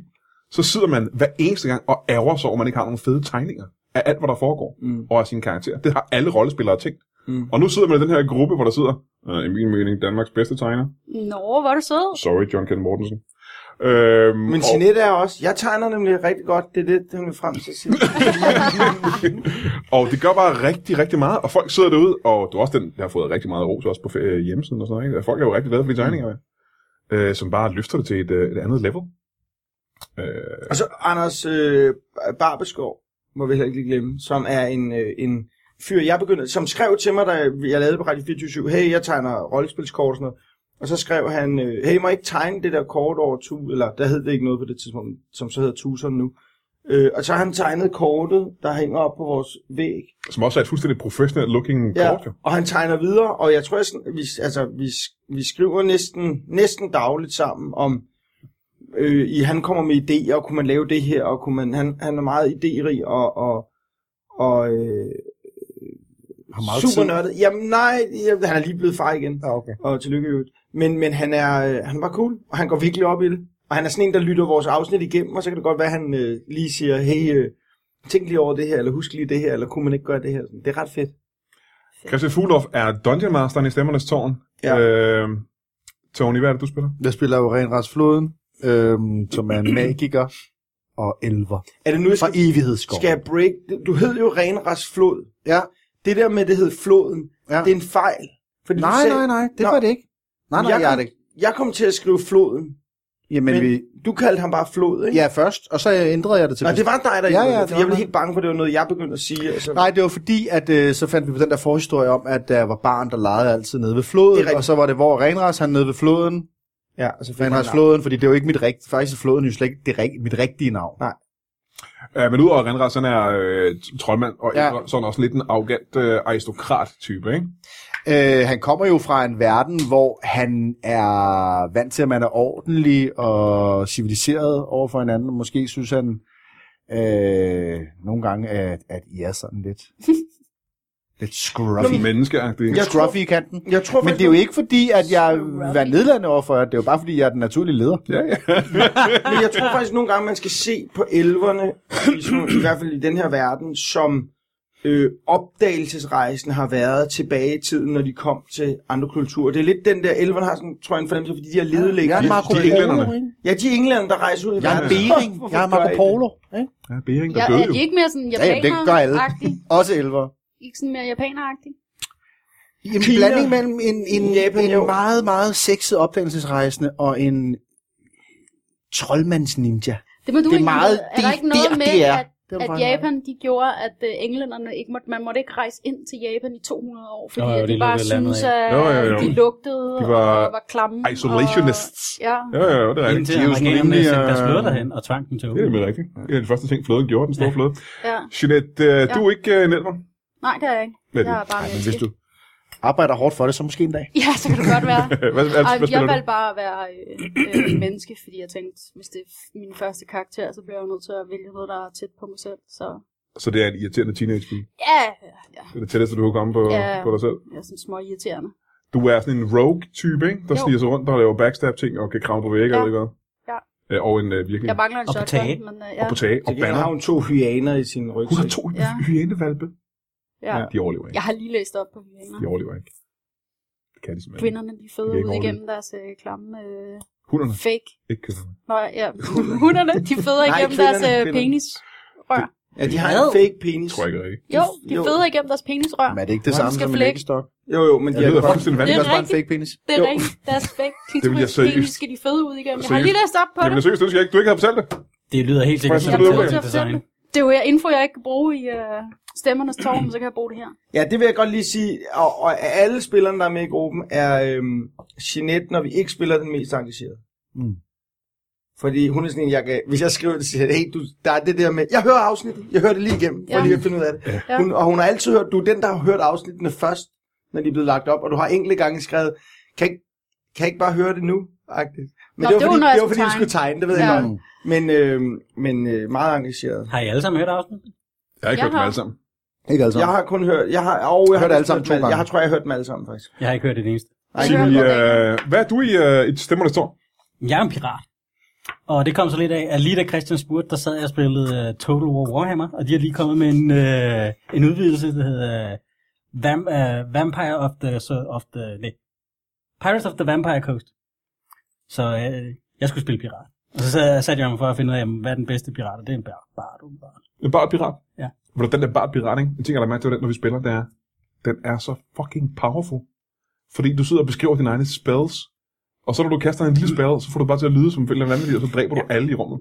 Speaker 1: så sidder man hver eneste gang og ærger sig over, at man ikke har nogen fede tegninger af alt, hvad der foregår, mm. og af sine karakterer. Det har alle rollespillere tænkt. Mm. Og nu sidder man i den her gruppe, hvor der sidder, øh, i min mening, Danmarks bedste tegner.
Speaker 3: Nå, hvor er du sød.
Speaker 1: Sorry, John Ken Mortensen. Øhm,
Speaker 2: Men
Speaker 1: og-
Speaker 2: Jeanette er også... Jeg tegner nemlig rigtig godt. Det er det, han vil frem til at sige.
Speaker 1: Og det gør bare rigtig, rigtig meget, og folk sidder derude, og du også den, jeg har fået rigtig meget ros også på fe- øh, hjemmesiden og sådan noget, ikke? Og folk er jo rigtig glade for de tegninger, øh, som bare løfter det til et, øh, et andet level. Øh,
Speaker 2: og så Anders øh, Barbeskov, må vi heller ikke lige glemme, som er en, øh, en fyr, jeg begyndte, som skrev til mig, da jeg lavede på Radio 24 hey, jeg tegner rollespilskort og sådan noget. Og så skrev han, øh, hey, må jeg ikke tegne det der kort over Tu, eller der hed det ikke noget på det tidspunkt, som så hedder Tucson nu. Øh, og så har han tegnet kortet, der hænger op på vores væg.
Speaker 1: som også er et fuldstændig professionelt looking ja.
Speaker 2: Ja,
Speaker 1: kort, jo.
Speaker 2: og han tegner videre, og jeg tror, jeg, sådan- vi, altså, vi, vi skriver næsten, næsten dagligt sammen om, øh, i, han kommer med idéer, og kunne man lave det her, og kunne man, han, han er meget idérig, og, og, og øh,
Speaker 5: Har meget
Speaker 2: super
Speaker 5: tid.
Speaker 2: nørdet. Jamen nej, jamen, han er lige blevet far igen,
Speaker 5: Ja, okay.
Speaker 2: og tillykke i øvrigt. Men, men han, er, øh, han var cool, og han går virkelig op i det. Og han er sådan en, der lytter vores afsnit igennem, og så kan det godt være, at han øh, lige siger, hey, øh, tænk lige over det her, eller husk lige det her, eller kunne man ikke gøre det her. Sådan, Det er ret fedt.
Speaker 1: Christian Fuglof er Dungeon Masteren i Stemmernes Tårn.
Speaker 2: Ja.
Speaker 1: Øh, Tony, hvad er det, du spiller?
Speaker 5: Jeg spiller jo Ren Rats Floden, øhm, som er en magiker og elver.
Speaker 2: Er det nu, jeg
Speaker 5: Fra
Speaker 2: skal
Speaker 5: evighedsskov.
Speaker 2: Skal jeg break? Du hed jo Renras Flod.
Speaker 5: Ja,
Speaker 2: Det der med, det hed Floden,
Speaker 5: ja.
Speaker 2: ja. det er en fejl. Fordi du
Speaker 5: Nej,
Speaker 2: sagde,
Speaker 5: nej, nej, det
Speaker 2: Nå.
Speaker 5: var det ikke. Nej, nej,
Speaker 2: Jeg
Speaker 5: jeg, jeg er
Speaker 2: kom-
Speaker 5: det ikke.
Speaker 2: Jeg kom til at skrive Floden,
Speaker 5: Jamen,
Speaker 2: men,
Speaker 5: vi...
Speaker 2: men du kaldte ham bare Flod, ikke?
Speaker 5: Ja, først, og så ændrede jeg det til...
Speaker 2: Nå, det var dig, der
Speaker 5: Ja,
Speaker 2: ja,
Speaker 5: ja,
Speaker 2: ja,
Speaker 5: det
Speaker 2: for
Speaker 5: var
Speaker 2: jeg blev
Speaker 5: mig.
Speaker 2: helt bange for, at det var noget, jeg begyndte at sige. Altså.
Speaker 5: Nej, det var fordi, at øh, så fandt vi på den der forhistorie om, at der var barn, der legede altid nede ved floden,
Speaker 2: Det er rigtigt.
Speaker 5: og så var det, hvor Renras, han nede ved floden,
Speaker 2: Ja, altså,
Speaker 5: Renras floden, fordi det var ikke mit rigtige, faktisk er floden jo slet ikke det rig- mit rigtige navn.
Speaker 2: Nej.
Speaker 1: Øh, men udover Renras, han er øh, troldmand, og
Speaker 5: Ja.
Speaker 1: ja. sådan også lidt en arrogant øh, aristokrat-type, ikke?
Speaker 5: Øh, han kommer jo fra en verden, hvor han er vant til, at man er ordentlig og civiliseret over for hinanden, og måske synes han øh, nogle gange, at, at I er sådan lidt, lidt scruffy.
Speaker 1: Ruffy. Altså, Menneskeagtig.
Speaker 5: Lidt
Speaker 2: Jeg tror-
Speaker 5: scruffy i kanten.
Speaker 2: Jeg tror,
Speaker 5: Men det er jo ikke fordi, at jeg var nedladende overfor jer. Det er jo bare fordi, jeg er den naturlige leder.
Speaker 1: Ja, ja.
Speaker 2: Men jeg tror faktisk nogle gange, man skal se på elverne, i, sådan, i hvert fald i den her verden, som øh, opdagelsesrejsen har været tilbage i tiden, når de kom til andre kulturer. Det er lidt den der, elverne har sådan, tror jeg, en fornemmelse, fordi de har levet længe.
Speaker 1: De- Marco de Polo, englænderne.
Speaker 2: Ja, de englænder, der rejser ud i
Speaker 5: Jeg er
Speaker 2: verden.
Speaker 5: Bering.
Speaker 2: Hvorfor
Speaker 5: Jeg er
Speaker 2: gør I
Speaker 5: Marco
Speaker 2: det?
Speaker 5: Polo. Ikke?
Speaker 1: ja Bering, der
Speaker 3: Ja,
Speaker 1: døde
Speaker 3: er de
Speaker 1: jo.
Speaker 3: ikke mere sådan
Speaker 5: Ja, jamen, det gør alle.
Speaker 3: japaner-agtig?
Speaker 5: Også elver.
Speaker 3: Ikke sådan mere japaner-agtig?
Speaker 2: Kina.
Speaker 5: En blanding mellem en, en,
Speaker 2: Japan,
Speaker 5: en
Speaker 2: jo.
Speaker 5: meget, meget sexet opdagelsesrejsende og en troldmandsninja.
Speaker 3: Det må du
Speaker 5: Det er
Speaker 3: ikke
Speaker 5: meget-
Speaker 3: vide. Er
Speaker 5: det-
Speaker 3: der ikke noget
Speaker 5: det-
Speaker 3: med,
Speaker 5: det er-
Speaker 3: at
Speaker 5: Det er
Speaker 3: at
Speaker 5: faktisk ret i.
Speaker 3: Japan, de gjorde, at øh, englænderne ikke måtte, man måtte ikke rejse ind til Japan i 200 år, fordi
Speaker 4: Nå,
Speaker 3: Nå,
Speaker 4: jo,
Speaker 3: jo,
Speaker 4: de
Speaker 3: de bare
Speaker 4: lukkede landet
Speaker 3: syntes,
Speaker 4: af.
Speaker 3: at
Speaker 1: Jo, jo, jo.
Speaker 3: de lugtede
Speaker 1: De var
Speaker 3: og var klamme.
Speaker 1: Isolationists.
Speaker 3: Og, ja,
Speaker 1: Ja, ja, ja, det er rigtigt.
Speaker 4: Indtil
Speaker 5: de er jo sådan
Speaker 4: amerikanerne
Speaker 5: rimelig,
Speaker 4: sendte deres
Speaker 5: øh,
Speaker 4: flåde derhen og tvang dem til
Speaker 1: Det er
Speaker 4: åben.
Speaker 1: nemlig rigtigt. Det er den første ting, flåden gjorde, den store
Speaker 4: Ja.
Speaker 1: flåde.
Speaker 3: ja.
Speaker 1: Jeanette, øh, du er ikke øh, en elver?
Speaker 3: Nej, det er jeg ikke.
Speaker 1: Hvad er
Speaker 3: Jeg
Speaker 1: du?
Speaker 3: er bare
Speaker 1: Ej,
Speaker 3: en
Speaker 1: men hvis du...
Speaker 5: Arbejder hårdt for det, så måske en dag.
Speaker 3: Ja, så kan det godt være.
Speaker 1: Hvad, hvad, hvad,
Speaker 3: Ej,
Speaker 1: hvad
Speaker 3: jeg
Speaker 1: spiller du?
Speaker 3: valgte bare at være øh, øh, menneske, fordi jeg tænkte, hvis det er f- min første karakter, så bliver jeg jo nødt til at vælge noget, der er tæt på mig selv. Så
Speaker 1: Så det er en irriterende teenage -pige.
Speaker 3: ja, ja.
Speaker 1: Det er det tætteste, du kan komme på,
Speaker 3: Ja.
Speaker 1: på dig selv.
Speaker 3: jeg er sådan små irriterende.
Speaker 1: Du er sådan en rogue-type, ikke? Der
Speaker 3: Jo.
Speaker 1: sniger sig rundt og laver backstab-ting og kan kravle på vægge,
Speaker 3: Ja.
Speaker 1: ja. eller
Speaker 3: Ja.
Speaker 1: Ja. Og en øh, virkelig...
Speaker 3: Jeg mangler en
Speaker 4: Og på
Speaker 3: shotgun,
Speaker 4: tage.
Speaker 3: men øh,
Speaker 1: Og
Speaker 3: ja.
Speaker 1: på tage og
Speaker 2: Til gengæld
Speaker 1: banner.
Speaker 2: har hun to hyaner i sin
Speaker 1: Hun har
Speaker 2: rygsæk.
Speaker 1: to
Speaker 3: Ja.
Speaker 1: hyenevalpe.
Speaker 3: ja.
Speaker 1: De overlever ikke.
Speaker 3: Jeg har lige læst op på hyener.
Speaker 1: De overlever ikke. Det kan de simpelthen ikke.
Speaker 3: Kvinderne de føder
Speaker 1: Det kan ikke Mm. overleve.
Speaker 3: ud igennem deres øh, klamme øh,
Speaker 1: Hunderne.
Speaker 3: fake.
Speaker 1: Ikke kvinderne.
Speaker 3: Nå, ja, hunderne, de føder
Speaker 2: Nej,
Speaker 3: igennem
Speaker 2: kvinderne,
Speaker 3: deres øh,
Speaker 2: kvinderne.
Speaker 3: penis.
Speaker 2: Ja, de har en fake penis.
Speaker 1: Tror jeg ikke rigtigt.
Speaker 3: Jo, de
Speaker 2: Jo.
Speaker 3: føder igennem deres penisrør.
Speaker 5: Men er det ikke det
Speaker 3: Hun
Speaker 5: samme
Speaker 3: skal
Speaker 5: som en
Speaker 3: flække.
Speaker 5: læggestok?
Speaker 2: Jo, jo, men de
Speaker 1: Det lyder
Speaker 2: har
Speaker 1: fuldstændig
Speaker 5: Det
Speaker 1: vanvittigt.
Speaker 5: er også bare en
Speaker 3: rigtigt.
Speaker 5: fake penis.
Speaker 3: Det er
Speaker 2: Jo.
Speaker 3: rigtigt, deres fake
Speaker 1: ville jeg
Speaker 3: klitoris
Speaker 1: seriøst-
Speaker 3: penis skal de føde ud igennem. Jeg har
Speaker 1: seriøst-
Speaker 3: lige læst op på det.
Speaker 1: Jamen seriøst, det synes jeg ikke. Du ikke har fortalt det.
Speaker 4: Det lyder helt sikkert
Speaker 1: Hvad
Speaker 4: som
Speaker 1: skal
Speaker 4: et
Speaker 1: du
Speaker 3: Jeg er nødt til at fortælle
Speaker 4: design.
Speaker 3: det. Det er jo her info, jeg ikke kan bruge i øh, stemmernes tårn, men så kan jeg bruge det her.
Speaker 2: Ja, det vil jeg godt lige sige. Og, og af alle spillerne, der er med i gruppen, er øhm, Jeanette, når vi ikke spiller, den mest engagerede.
Speaker 5: Mm.
Speaker 2: Fordi hun er sådan en, jeg kan, hvis jeg skriver det, så siger jeg, hey, du, der er det der med, jeg hører afsnittet, jeg hører det lige igennem, for
Speaker 3: Ja.
Speaker 2: lige at finde ud af det.
Speaker 3: Ja.
Speaker 2: Hun, og hun har altid hørt, du er den, der har hørt afsnittene først, når de er blevet lagt op, og du har enkelte gange skrevet, kan jeg ikke, kan jeg ikke bare høre det nu? Agtigt. Men
Speaker 3: Nå,
Speaker 2: det var,
Speaker 3: det var,
Speaker 2: fordi,
Speaker 3: når jeg
Speaker 2: det var fordi,
Speaker 3: skulle
Speaker 2: du skulle tegne, det ved
Speaker 3: Ja.
Speaker 2: jeg godt. Men, øh, men øh, meget engageret.
Speaker 4: Har I alle sammen hørt afsnittet?
Speaker 1: Jeg har ikke
Speaker 3: Jeg
Speaker 1: hørt dem
Speaker 3: har.
Speaker 1: alle sammen.
Speaker 5: Ikke altså.
Speaker 2: Jeg har kun hørt, jeg har, og jeg,
Speaker 5: Hørt
Speaker 2: har
Speaker 5: alle sammen
Speaker 2: hørt dem
Speaker 5: to
Speaker 2: alle- Jeg
Speaker 5: gange.
Speaker 2: har, tror, jeg har hørt dem alle sammen, faktisk.
Speaker 4: Jeg har ikke hørt det eneste.
Speaker 2: Nej,
Speaker 3: det
Speaker 1: Jimmy,
Speaker 3: var godt.
Speaker 1: øh, hvad er du i øh, et stemmernes tårn?
Speaker 4: Jeg er en pirat. Og det kom så lidt af, at lige da Christian spurgte, der sad jeg og spillede uh, Total War Warhammer, og de har lige kommet med en, uh, en udvidelse, der hedder uh, Vamp, uh, Vampire of the, so, of the nej, Pirates of the Vampire Coast. Så uh, jeg skulle spille pirat. Og så sad- satte jeg mig for at finde ud af, jamen, hvad er den bedste pirat, og det er en bar, bar, du, bar.
Speaker 1: En bart pirat?
Speaker 4: Ja.
Speaker 1: Hvor den der bart pirat, ikke? En ting, jeg lader mærke til, ved den, når vi spiller, det er, den er så fucking powerful. Fordi du sidder og beskriver dine egne spells, og så når du kaster en lille spell, så får du bare til at lyde som en eller anden, og så dræber du alle i rummet.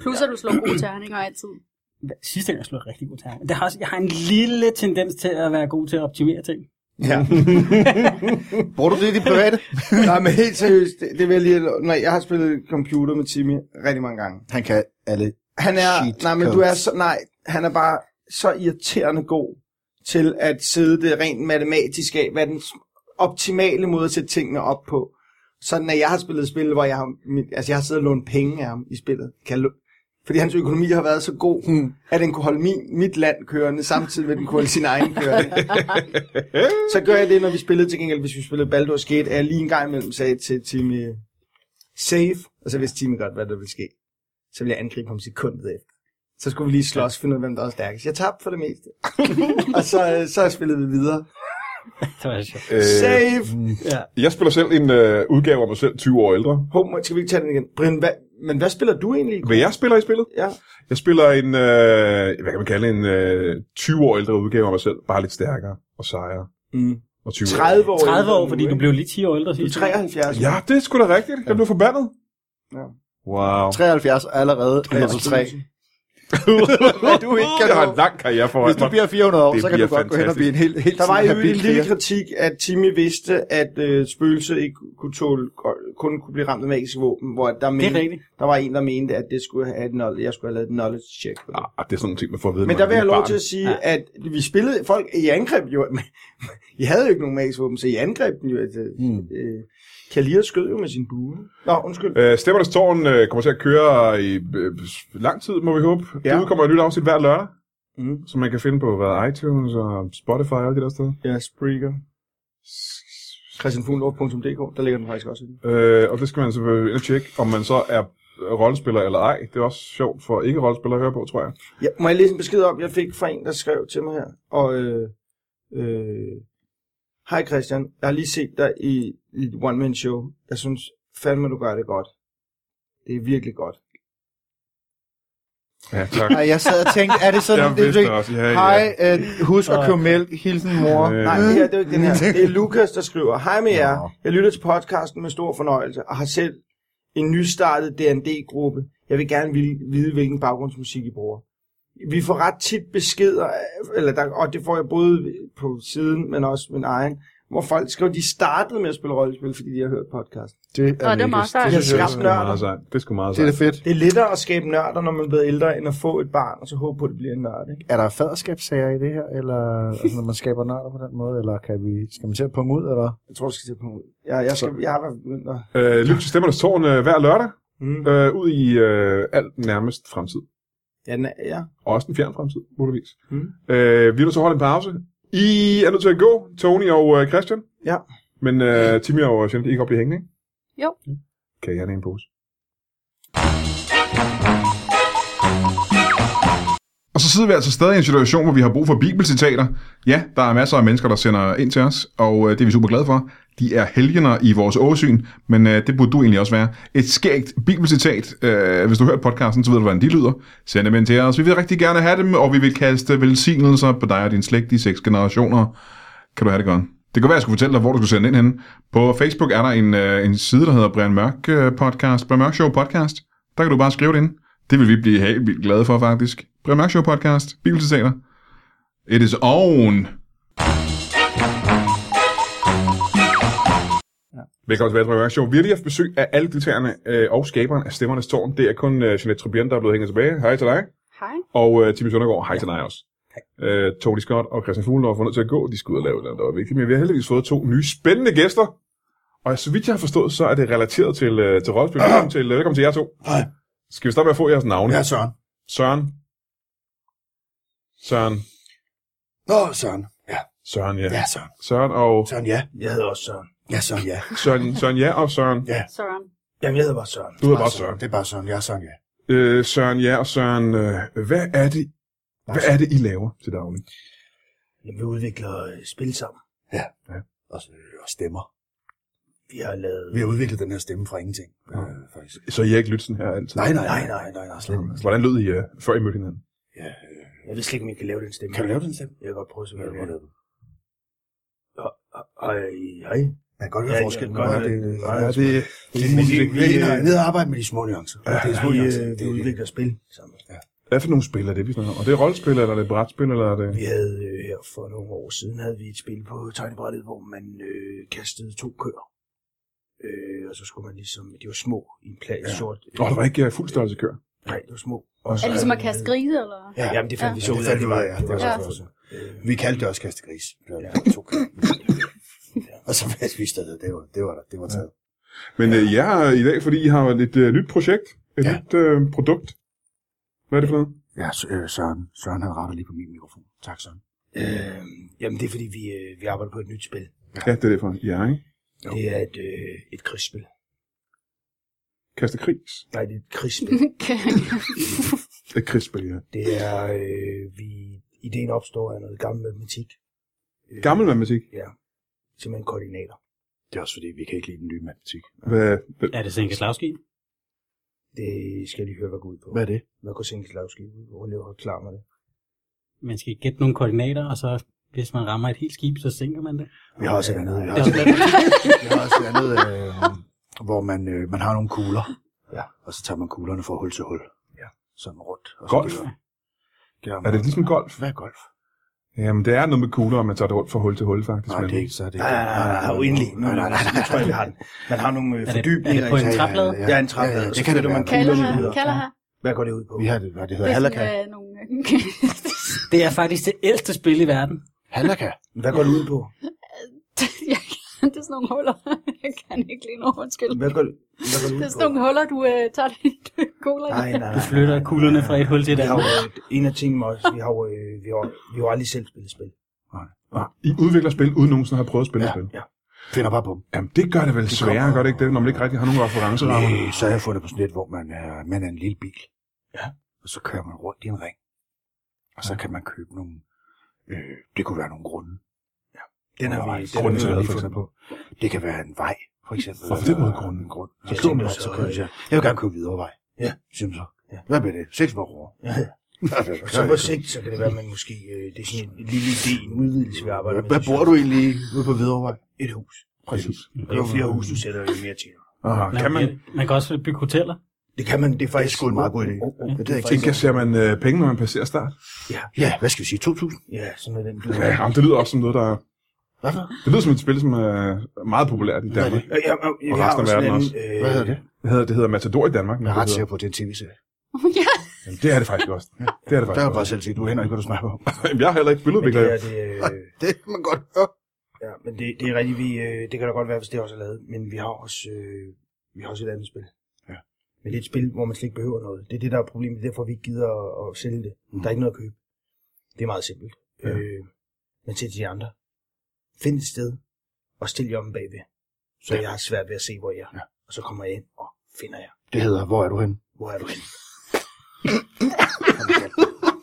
Speaker 3: Plus at du slår gode terninger altid.
Speaker 4: Hva- Sidste gang jeg slog jeg rigtig god terning. Men det har også, jeg har en lille tendens til at være god til at optimere ting.
Speaker 2: Ja.
Speaker 5: Bruger du det i det private?
Speaker 2: Nej, men helt seriøst, det, det vil jeg lige... Nej, jeg har spillet computer med Timmy rigtig mange gange.
Speaker 5: Han kan alle.
Speaker 2: Han er...
Speaker 5: Shit,
Speaker 2: nej, men
Speaker 5: coach.
Speaker 2: du er så... Nej, han er bare så irriterende god til at sidde det rent matematisk af, hvad er den optimale måde at sætte tingene op på. Sådan at jeg har spillet spil, hvor jeg har, mit, altså jeg har siddet og lånt penge af ham i spillet. Kan jeg lå- fordi hans økonomi har været så god, hmm. at den kunne holde min, mit land kørende, samtidig med at den kunne holde sin egen kørende. så gør jeg det, når vi spillede til gengæld, hvis vi spillede Baldur's Gate, at jeg lige en gang imellem sagde til Timmy, save, og så vidste Timmy godt, hvad der ville ske. Så ville jeg angribe ham sekundet efter. Så skulle vi lige slås, finde ud af, hvem der var stærkest. Jeg tabte for det meste. og så, øh, så spillede vi videre.
Speaker 4: Det var sjovt.
Speaker 1: Øh,
Speaker 2: Save!
Speaker 4: Ja.
Speaker 1: jeg spiller selv en øh, udgave af mig selv, 20 år ældre.
Speaker 2: Hov, skal vi ikke tage den igen? Brian, hvad, men hvad spiller du egentlig?
Speaker 1: Hvad jeg spiller i spillet?
Speaker 2: Ja.
Speaker 1: Jeg spiller en, øh, hvad kan man kalde en øh, 20 år ældre udgave af mig selv, bare lidt stærkere og sejere.
Speaker 2: Mm.
Speaker 1: Og 20 år.
Speaker 2: 30 år.
Speaker 4: 30 år,
Speaker 2: ældre
Speaker 4: fordi
Speaker 2: nu,
Speaker 4: du
Speaker 2: ikke?
Speaker 4: blev lige 10 år ældre
Speaker 2: Du er
Speaker 4: sidste gang.
Speaker 2: 73.
Speaker 1: Ja, det er sgu da rigtigt. Jeg blev forbandet.
Speaker 2: Ja.
Speaker 1: Wow.
Speaker 5: 73 allerede. Level 3. Hvad du ikke kan
Speaker 1: Jeg har
Speaker 5: nå.
Speaker 1: en lang karriere foran
Speaker 5: Hvis du
Speaker 1: mig.
Speaker 5: bliver 400 år,
Speaker 1: Det
Speaker 5: så kan du
Speaker 1: bliver
Speaker 5: godt gå hen og
Speaker 1: fantastisk.
Speaker 5: blive en helt, helt
Speaker 2: Der var jo
Speaker 5: sådan habil
Speaker 2: en lille
Speaker 5: kriger.
Speaker 2: kritik, at Timmy vidste, at øh, spøgelser ikke kunne tåle, kun kunne blive ramt af magiske våben, hvor der,
Speaker 4: Det er
Speaker 2: mente,
Speaker 4: rigtigt.
Speaker 2: der var en, der mente, at det skulle have et knowledge, jeg skulle have lavet et knowledge check. På det.
Speaker 1: Ah, det er sådan nogle ting, man får at vide.
Speaker 2: Men
Speaker 1: når
Speaker 2: der
Speaker 1: man
Speaker 2: vil
Speaker 1: er
Speaker 2: jeg have lov
Speaker 1: barn.
Speaker 2: til at sige, ja.
Speaker 4: Ja.
Speaker 2: at vi spillede folk, I angreb jo, men I havde jo ikke nogen magiske våben, så I angreb den jo. At,
Speaker 5: Mm.
Speaker 2: øh, Kalir skød jo med sin bue. Nå, undskyld.
Speaker 1: Øh, Stemmernes Tårn øh, kommer til at køre i øh, lang tid, må vi håbe. Ja.
Speaker 2: Ja.
Speaker 1: Der udkommer et nyt afsnit hver lørdag,
Speaker 2: Mm.
Speaker 1: som man kan finde på hvad, iTunes og Spotify og alle de der steder.
Speaker 2: Ja, Spreaker. christianfuglendorf.dk, der ligger den faktisk også inde.
Speaker 1: Øh, og det skal man selvfølgelig ind og tjekke, om man så er rollespiller eller ej. Det er også sjovt for ikke-rollespillere at høre på, tror jeg.
Speaker 2: Ja, må jeg læse en besked op, jeg fik fra en, der skrev til mig her. Og, øh, øh, Hej Christian, jeg har lige set dig i, i et one-man show. Jeg synes fandme, du gør det godt. Det er virkelig godt.
Speaker 1: Ja, tak.
Speaker 5: Ej, jeg sad og tænkte, er det sådan,
Speaker 1: Jeg
Speaker 5: det
Speaker 1: vidste
Speaker 5: er
Speaker 1: også. Ja, ja.
Speaker 5: Hej, øh, husk at købe mælk, hilsen mor.
Speaker 1: Øh.
Speaker 2: Nej, det her, det er jo ikke den her. Det er Lukas, der skriver, Hej med
Speaker 5: Nå.
Speaker 2: jer. Jeg lytter til podcasten med stor fornøjelse og har selv en nystartet D&D-gruppe. Jeg vil gerne vil- vide, hvilken baggrundsmusik I bruger. Vi får ret tit beskeder, eller der, og det får jeg både på siden, men også min egen, hvor folk skriver, de startede med at spille rollespil, fordi de har hørt podcast.
Speaker 5: Det
Speaker 3: Nå, det er meget sejt.
Speaker 2: Det er
Speaker 1: det er
Speaker 2: skarpt
Speaker 1: sgu
Speaker 2: nørder.
Speaker 1: meget sejt. Det er sgu meget
Speaker 5: Det er
Speaker 1: sejt.
Speaker 5: da fedt.
Speaker 2: Det er lettere at skabe nørder, når man bliver ældre, end at få et barn, og så håbe på, at det bliver en nørd. Ikke?
Speaker 5: Er der faderskabssager i det her, eller altså, når man skaber nørder på den måde, eller kan vi, skal man til at punge ud, eller?
Speaker 2: Jeg tror, du skal til at punkt. Jeg, jeg, skal, jeg har været begyndt
Speaker 1: Øh,
Speaker 2: at...
Speaker 1: lyt til Stemmernes Tårn øh, hver lørdag,
Speaker 2: Mm.
Speaker 1: øh, ud i øh, alt nærmest fremtid.
Speaker 2: Ja, na- ja.
Speaker 1: Og også den fjern fremtid, muligvis.
Speaker 2: Mm.
Speaker 1: Øh, vi vil så holde en pause. I er nødt til at gå, Tony og øh, Christian.
Speaker 2: Ja.
Speaker 1: Men øh, Timmy og Jeanette, I kan godt blive hængende, ikke? Mm.
Speaker 3: Jo.
Speaker 1: Kan jeg have en pose? Og så sidder vi altså stadig i en situation, hvor vi har brug for bibelcitater. Ja, der er masser af mennesker, der sender ind til os, og øh, det er vi super glade for. De er helgener i vores åsyn, men øh, det burde du egentlig også være. Et skægt bibelcitat, øh, hvis du har hørt podcasten, så ved du, hvordan de lyder. Send dem ind til os. Vi vil rigtig gerne have dem, og vi vil kaste velsignelser på dig og din slægt i seks generationer kan du have det godt. Det kan være, jeg skulle fortælle dig, hvor du skulle sende ind henne. På Facebook er der en, øh, en side, der hedder Brian Mørk øh, Podcast, Brian Mørk Show Podcast. Der kan du bare skrive det ind. Det vil vi blive helt vildt glade for, faktisk. Brian Mørk Show Podcast, Bibelcitater. It is on. Velkommen tilbage til Brian Mørk Show. Vi har lige haft besøg af alle deltagerne øh, og skaberen af Stemmernes Tårn. Det er kun øh, Jeanette Tribien, der er blevet hængende tilbage. Hej til dig.
Speaker 3: Hej.
Speaker 1: Og øh, Timmy Søndergaard, hej ja. til dig også. Øh, Tony Scott og Christian Fuglendorf var nødt til at gå. De skulle ud og lave noget, der var vigtigt. Men vi har heldigvis fået to nye spændende gæster. Og så vidt jeg har forstået, så er det relateret til, øh, til rollespil. Velkommen til, øh, velkommen til jer to.
Speaker 5: Hej.
Speaker 1: Skal vi starte med at få jeres navne?
Speaker 5: Søren.
Speaker 1: Søren. Søren.
Speaker 5: Nå, Søren. Ja,
Speaker 1: Søren, ja.
Speaker 5: Søren.
Speaker 1: Søren og...
Speaker 5: Søren, ja.
Speaker 2: Jeg hedder også Søren.
Speaker 5: Ja, Søren, ja.
Speaker 1: Søren, Søren ja og Søren.
Speaker 5: Ja.
Speaker 3: Søren.
Speaker 2: Jamen, jeg hedder bare Søren.
Speaker 1: Du hedder bare Søren.
Speaker 5: Det er bare Søren, ja, Søren, ja.
Speaker 1: Øh, Søren ja og Søren, øh, hvad er det, hvad er det, I laver til daglig?
Speaker 2: Jamen, vi udvikler øh, spil sammen.
Speaker 5: Og, øh, og stemmer.
Speaker 2: Vi har lavet...
Speaker 5: Vi har udviklet den her stemme fra ingenting, ja. øh, faktisk.
Speaker 1: Så I er ikke Lytzen her altid?
Speaker 5: Nej, nej, nej, nej, nej, nej slet ikke.
Speaker 1: Hvordan lød I, øh, før I mødte hinanden?
Speaker 5: Ja.
Speaker 2: Jeg ved slet ikke, om jeg kan lave den stemme.
Speaker 5: Kan du lave den stemme?
Speaker 2: Jeg kan godt prøve, så
Speaker 5: Ja,
Speaker 2: jeg
Speaker 5: du må
Speaker 2: kan.
Speaker 5: lave den.
Speaker 2: øh, Hej, hej.
Speaker 5: Man kan godt
Speaker 2: Ja,
Speaker 5: høre
Speaker 2: ja,
Speaker 5: forskel.
Speaker 2: godt,
Speaker 5: Ja, det,
Speaker 2: ja,
Speaker 5: det,
Speaker 2: ja,
Speaker 5: det,
Speaker 1: det,
Speaker 5: det, det, vi er nede og arbejde med de små nuancer. Ja, det er små
Speaker 2: Vi,
Speaker 5: nuancer.
Speaker 2: øh,
Speaker 5: Det
Speaker 2: vi
Speaker 5: er det.
Speaker 2: udvikler spil sammen.
Speaker 1: Hvad for nogle spil er det, vi snakker om? Og det er rollespil, eller er det brætspil, eller er det...
Speaker 2: Vi havde øh, her for nogle år siden, havde vi et spil på tegnebrættet, hvor man øh, kastede to køer. Øh, og så skulle man ligesom, de var små i en plade ja. sort.
Speaker 1: Åh, oh, der var ikke uh, fuld størrelse kør.
Speaker 2: Nej, de var små. Og
Speaker 3: Er
Speaker 2: så
Speaker 3: det ligesom at
Speaker 2: havde-
Speaker 3: kaste grise, eller?
Speaker 5: Ja,
Speaker 2: Ja, jamen det fandt
Speaker 3: Ja.
Speaker 2: vi
Speaker 5: det
Speaker 2: så ud af,
Speaker 5: fandt
Speaker 2: det
Speaker 5: vi
Speaker 2: var,
Speaker 5: ud af, ja.
Speaker 2: det var
Speaker 3: Ja.
Speaker 2: så også. Øh,
Speaker 5: Vi kaldte det også kastegris. Det var to køer. Og så spiste det. Det var, det var, der. det var taget.
Speaker 1: Men uh, jeg er i dag, fordi I har et uh, nyt projekt, et ja.
Speaker 5: Ja.
Speaker 1: nyt uh, produkt. Hvad er det for noget?
Speaker 5: Ja, S- øh, Søren. Søren havde rettet lige på min mikrofon. Tak, Søren.
Speaker 2: øh, jamen det er fordi, vi, øh, vi arbejder på et nyt spil.
Speaker 1: Ja, det er det for jer, ikke?
Speaker 5: Jo.
Speaker 2: Det er et, øh, et krigsspil.
Speaker 1: Kaste krigs.
Speaker 2: Nej, det er et krigsspil.
Speaker 1: Et Øh, krigsspil, ja.
Speaker 2: det er, øh, vi, ideen opstår af noget gammel matematik. Øh,
Speaker 1: Gammel matematik.
Speaker 2: Simpelthen koordinater.
Speaker 5: Det er også fordi, vi kan ikke lide den nye matematik.
Speaker 1: Hvad, hvad,
Speaker 4: Er det Senke Slavski?
Speaker 2: Det skal jeg lige høre, hvad går ud på.
Speaker 5: Hvad er det?
Speaker 2: Hvad går Sinkelslavski ud på? Hun laver klar med det.
Speaker 4: Man skal gætte nogle koordinater, og så hvis man rammer et helt skib, så sænker man det.
Speaker 5: Vi har også et andet. Vi
Speaker 4: Det
Speaker 5: har
Speaker 4: er
Speaker 5: også,
Speaker 4: også lidt-
Speaker 5: vi har også et andet, øh, hvor man, øh, man har nogle kugler.
Speaker 2: Ja.
Speaker 5: Og så tager man kuglerne fra hul til hul.
Speaker 2: Ja.
Speaker 5: Sådan rundt. Og
Speaker 1: Golf?
Speaker 5: Så gør,
Speaker 1: er det ligesom golf?
Speaker 5: Hvad er golf?
Speaker 1: Jamen, det er noget med kugler, og man tager det rundt fra hul til hul, faktisk.
Speaker 5: Nej,
Speaker 1: men-
Speaker 5: det er ikke så. er Det
Speaker 2: Nej, nej, nej, nej, uendelig. Nej, nej, nej, nej, tror jeg, vi har den. Man har nogle øh,
Speaker 4: det-
Speaker 2: fordybninger.
Speaker 4: er det på en
Speaker 2: i-
Speaker 5: Ja, ja,
Speaker 4: træplade?
Speaker 5: ja,
Speaker 2: Ja, en træplade.
Speaker 5: Ja, ja,
Speaker 2: Så
Speaker 5: det kan det
Speaker 2: flytter
Speaker 5: være.
Speaker 2: man
Speaker 3: Kalder
Speaker 2: Kuglerne
Speaker 3: her.
Speaker 2: videre.
Speaker 3: Kalder her.
Speaker 2: Hvad går det ud på?
Speaker 5: Vi har det, hvad det
Speaker 3: Det
Speaker 5: hedder,
Speaker 3: er
Speaker 5: halaka.
Speaker 3: sådan øh, nogle...
Speaker 4: Det er faktisk det ældste spil i verden.
Speaker 5: Halaka.
Speaker 2: Hvad går det ud på?
Speaker 3: det er sådan nogle huller. Jeg kan ikke lige nå, undskyld.
Speaker 2: Hvad går, hvad går det
Speaker 3: Det
Speaker 2: ud
Speaker 3: er
Speaker 2: på?
Speaker 3: sådan nogle huller, du øh, tager dit cola i.
Speaker 2: Nej, nej, nej.
Speaker 4: Du flytter kuglerne fra et hul til et
Speaker 2: Vi har
Speaker 4: andet.
Speaker 2: jo, øh, en af tingene med os, vi har jo, øh, vi har, vi har jo aldrig selv spillet spil.
Speaker 1: Ah, I udvikler spil, uden nogensinde at have prøvet at spille
Speaker 5: Ja.
Speaker 1: ja. spil.
Speaker 5: Finder bare på dem.
Speaker 1: Jamen, det gør det vel
Speaker 5: Det
Speaker 1: sværere,
Speaker 5: kommer-
Speaker 1: gør det ikke det, når man ikke rigtig har nogen referencerammer?
Speaker 5: Øh, så har jeg fundet på sådan et, hvor man er, man er en lille bil. Ja. Og så kører man rundt i en ring. Og så kan man købe nogle... Øh, det kunne være nogle grunde.
Speaker 2: Den har vi,
Speaker 5: Undervejs.
Speaker 2: den har
Speaker 1: Grunden
Speaker 2: vi,
Speaker 1: til hvad,
Speaker 2: vi
Speaker 1: for
Speaker 2: fundet på.
Speaker 5: Det kan være en vej, for eksempel.
Speaker 1: Hvorfor det
Speaker 5: Eller
Speaker 1: mod grunden?
Speaker 5: En grund.
Speaker 2: Så
Speaker 5: Så
Speaker 2: køber
Speaker 5: køber
Speaker 2: man
Speaker 5: man,
Speaker 2: så,
Speaker 5: så køber
Speaker 2: øh,
Speaker 5: jeg. Jeg vil gerne købe videre vej.
Speaker 2: Ja.
Speaker 5: Synes så.
Speaker 2: Ja.
Speaker 5: Hvad bliver det? 600 kroner.
Speaker 2: Ja.
Speaker 5: Hvad bliver det?
Speaker 2: Så på sigt, så kan det være, at man måske, øh, det er sådan en lille idé, en udvidelse, vi arbejder med.
Speaker 5: Hvad
Speaker 2: Det
Speaker 5: bruger
Speaker 2: synes
Speaker 5: du egentlig ude på Hvidovrevej?
Speaker 2: jeg. Et hus.
Speaker 5: Præcis.
Speaker 2: Jo flere hus, du sætter, jo mere til.
Speaker 1: Ah,
Speaker 4: Man,
Speaker 1: kan man?
Speaker 4: man kan også bygge hoteller.
Speaker 2: Det kan man, det er faktisk sgu en meget god idé. Ja, det er ikke tænkt.
Speaker 1: Indkasserer man øh, penge, når man passerer start?
Speaker 2: Ja, hvad skal vi sige, 2.000? Ja, sådan noget den. Du.
Speaker 1: Ja, jamen, det lyder også som noget, der...
Speaker 2: Hvad for?
Speaker 1: Det lyder som et spil, som er meget populært i Danmark.
Speaker 2: Ja, ja, ja, vi
Speaker 1: Og
Speaker 2: har
Speaker 1: resten af
Speaker 2: også
Speaker 1: verden
Speaker 2: en,
Speaker 1: også.
Speaker 2: øh,
Speaker 5: Hvad hedder det?
Speaker 1: Det hedder, det hedder Matador i Danmark. men
Speaker 2: Jeg er
Speaker 1: det
Speaker 2: ret
Speaker 1: hedder-
Speaker 2: sikker på, at det er en tv-serie.
Speaker 3: ja,
Speaker 1: Jamen, det er det faktisk også. Det er det
Speaker 2: Der
Speaker 1: faktisk
Speaker 2: har jeg
Speaker 1: også.
Speaker 2: bare selv set, du hænder ikke, hvad du snakker om.
Speaker 1: Jamen, jeg har heller ikke spillet
Speaker 2: Men
Speaker 1: det,
Speaker 2: det
Speaker 1: jeg.
Speaker 2: er, det, øh,
Speaker 5: Det kan man godt høre.
Speaker 2: ja, men det, det er rigtigt, vi, øh, det kan da godt være, hvis det også er lavet, men vi har også, øh, vi har også et andet spil.
Speaker 5: Ja.
Speaker 2: Men det er et spil, hvor man slet ikke behøver noget. Det er det, der er problemet, derfor vi ikke gider at, at sælge det. Mm. Der er ikke noget at købe. Det er meget simpelt. Ja. Øh, men til de andre, find et sted og stil jer om bagved. Så ja. jeg har svært ved at se, hvor jeg er. Ja. Og så kommer jeg ind og finder jer.
Speaker 5: Det hedder, hvor er du henne?
Speaker 2: Hvor er du henne?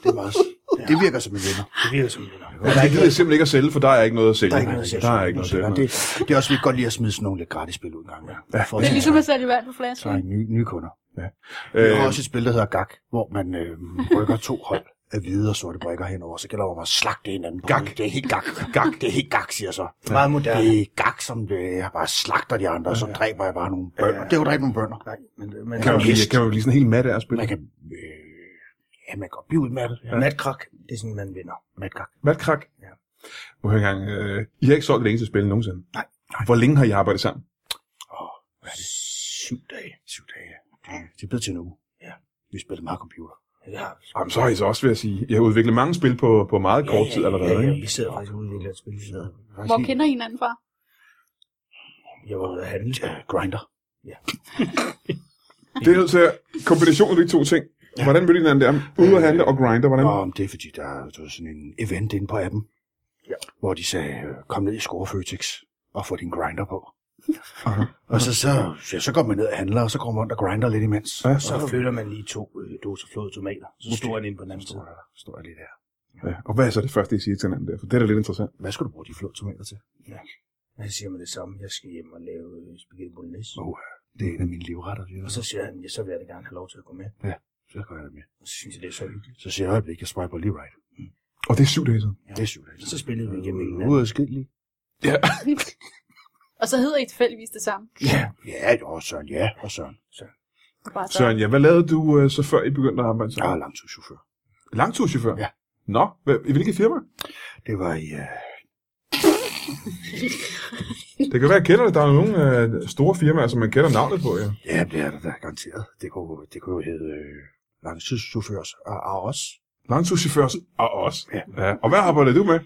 Speaker 2: det var også,
Speaker 5: Ja. Det virker som en vinder.
Speaker 2: det virker som en vinder.
Speaker 1: Og det gider jeg simpelthen ikke at sælge, for der er ikke noget at sælge.
Speaker 2: Der er ikke noget at sælge.
Speaker 1: Der er ikke noget at sælge.
Speaker 5: Ja, det, det er også, vi kan godt lide at smide sådan nogle lidt gratis spil ud en gang. Ja. For
Speaker 3: det er
Speaker 5: at-
Speaker 3: ligesom at sælge vand på flaske.
Speaker 5: så er nye, nye kunder. Vi
Speaker 1: Øh,
Speaker 5: har også et spil, der hedder Gag, hvor man øh, rykker to hold af hvide og sorte brikker henover, så gælder det om at slagte hinanden. Gag. Det er helt gag. Gag, det er helt gag, siger jeg så.
Speaker 2: Meget moderne.
Speaker 5: Det er gag, som det, jeg bare slagter de andre, og så dræber jeg bare nogle bønder. Det er jo dræbe nogle bønder.
Speaker 2: Nej, men, øh, men
Speaker 1: kan, man
Speaker 2: ja.
Speaker 1: blive, kan man blive sådan helt mat af at spille?
Speaker 5: Man kan, øh, ja, man kan godt blive udmattet. Ja.
Speaker 2: natkrak, det er sådan, man vinder.
Speaker 5: Med et gag.
Speaker 1: Hvad krak?
Speaker 2: Ja.
Speaker 1: Må jeg engang, øh, I har ikke solgt et eneste spil nogensinde?
Speaker 2: Nej.
Speaker 1: Hvor længe har I arbejdet sammen?
Speaker 2: Syv dage.
Speaker 5: Syv dage. Det, det er blevet til en uge.
Speaker 2: Ja.
Speaker 5: Vi spiller meget computer.
Speaker 2: Ja,
Speaker 1: Jamen, så har I så også, vil jeg sige. Jeg har udviklet mange spil på, på meget kort tid allerede.
Speaker 2: ja, ja,
Speaker 1: ikke?
Speaker 2: vi sidder faktisk ude i et spil. så
Speaker 3: Hvor kender I hinanden fra?
Speaker 2: Jeg var ude at handle.
Speaker 5: Ja, grinder.
Speaker 1: Det er nødt til at- kombinationen af de to ting. Hvordan mødte I hinanden der?
Speaker 2: Øh,
Speaker 1: Ude at handle og grinder, hvordan?
Speaker 5: Nå, men det er fordi, der er der er sådan en event inde på appen, ja. hvor de sagde, øh, kom ned i Score Føtex og få din grinder på. og så, så, ja, så går man ned og handler, og så går man rundt og grinder lidt imens.
Speaker 1: Ja.
Speaker 5: Ja.
Speaker 2: Så flytter man lige to øh, doser flåede tomater. Så står han inde på den anden side.
Speaker 5: Står jeg lige der.
Speaker 1: Ja. Og hvad er så det første, I siger til hinanden der? For det er da lidt interessant.
Speaker 5: Hvad skal du bruge de flå tomater til?
Speaker 2: Han siger mig det samme. Jeg skal hjem og lave øh, spaghetti bolognese.
Speaker 5: Oh, det er en af mine livretter. Siger.
Speaker 2: Og
Speaker 5: Og
Speaker 2: så siger han, ja, så vil jeg da gerne have lov til at gå med.
Speaker 5: så går jeg der med.
Speaker 2: Og så synes jeg, det er så hyggeligt.
Speaker 5: Så siger jeg øjeblik, jeg swiper lige right.
Speaker 1: Og det er syv dage siden.
Speaker 5: Ja. Det er syv dage.
Speaker 2: Og så spillede vi igennem en anden.
Speaker 5: Ude skidelig.
Speaker 3: Og så hedder I tilfældigvis det samme.
Speaker 2: Ja.
Speaker 5: Ja, og Søren, ja, og Søren.
Speaker 3: Det er Bare så.
Speaker 1: Søren, ja, hvad lavede du øh, så før I begyndte at arbejde
Speaker 5: Jeg er
Speaker 1: sammen?
Speaker 5: langturschauffør.
Speaker 1: Langturschauffør?
Speaker 5: Ja.
Speaker 1: Nå, hvad, i hvilket firma?
Speaker 5: Det var i... Øh,
Speaker 1: Det kan være, jeg kender det. Der er nogle øh, store firmaer, som man kender navnet på, ja.
Speaker 5: Ja, det er der, der er garanteret. Det kunne, det kunne jo hedde øh, langtidschaufførs og Aros.
Speaker 1: Langturschauffør og os.
Speaker 5: Ja.
Speaker 1: ja. Og hvad arbejder du med,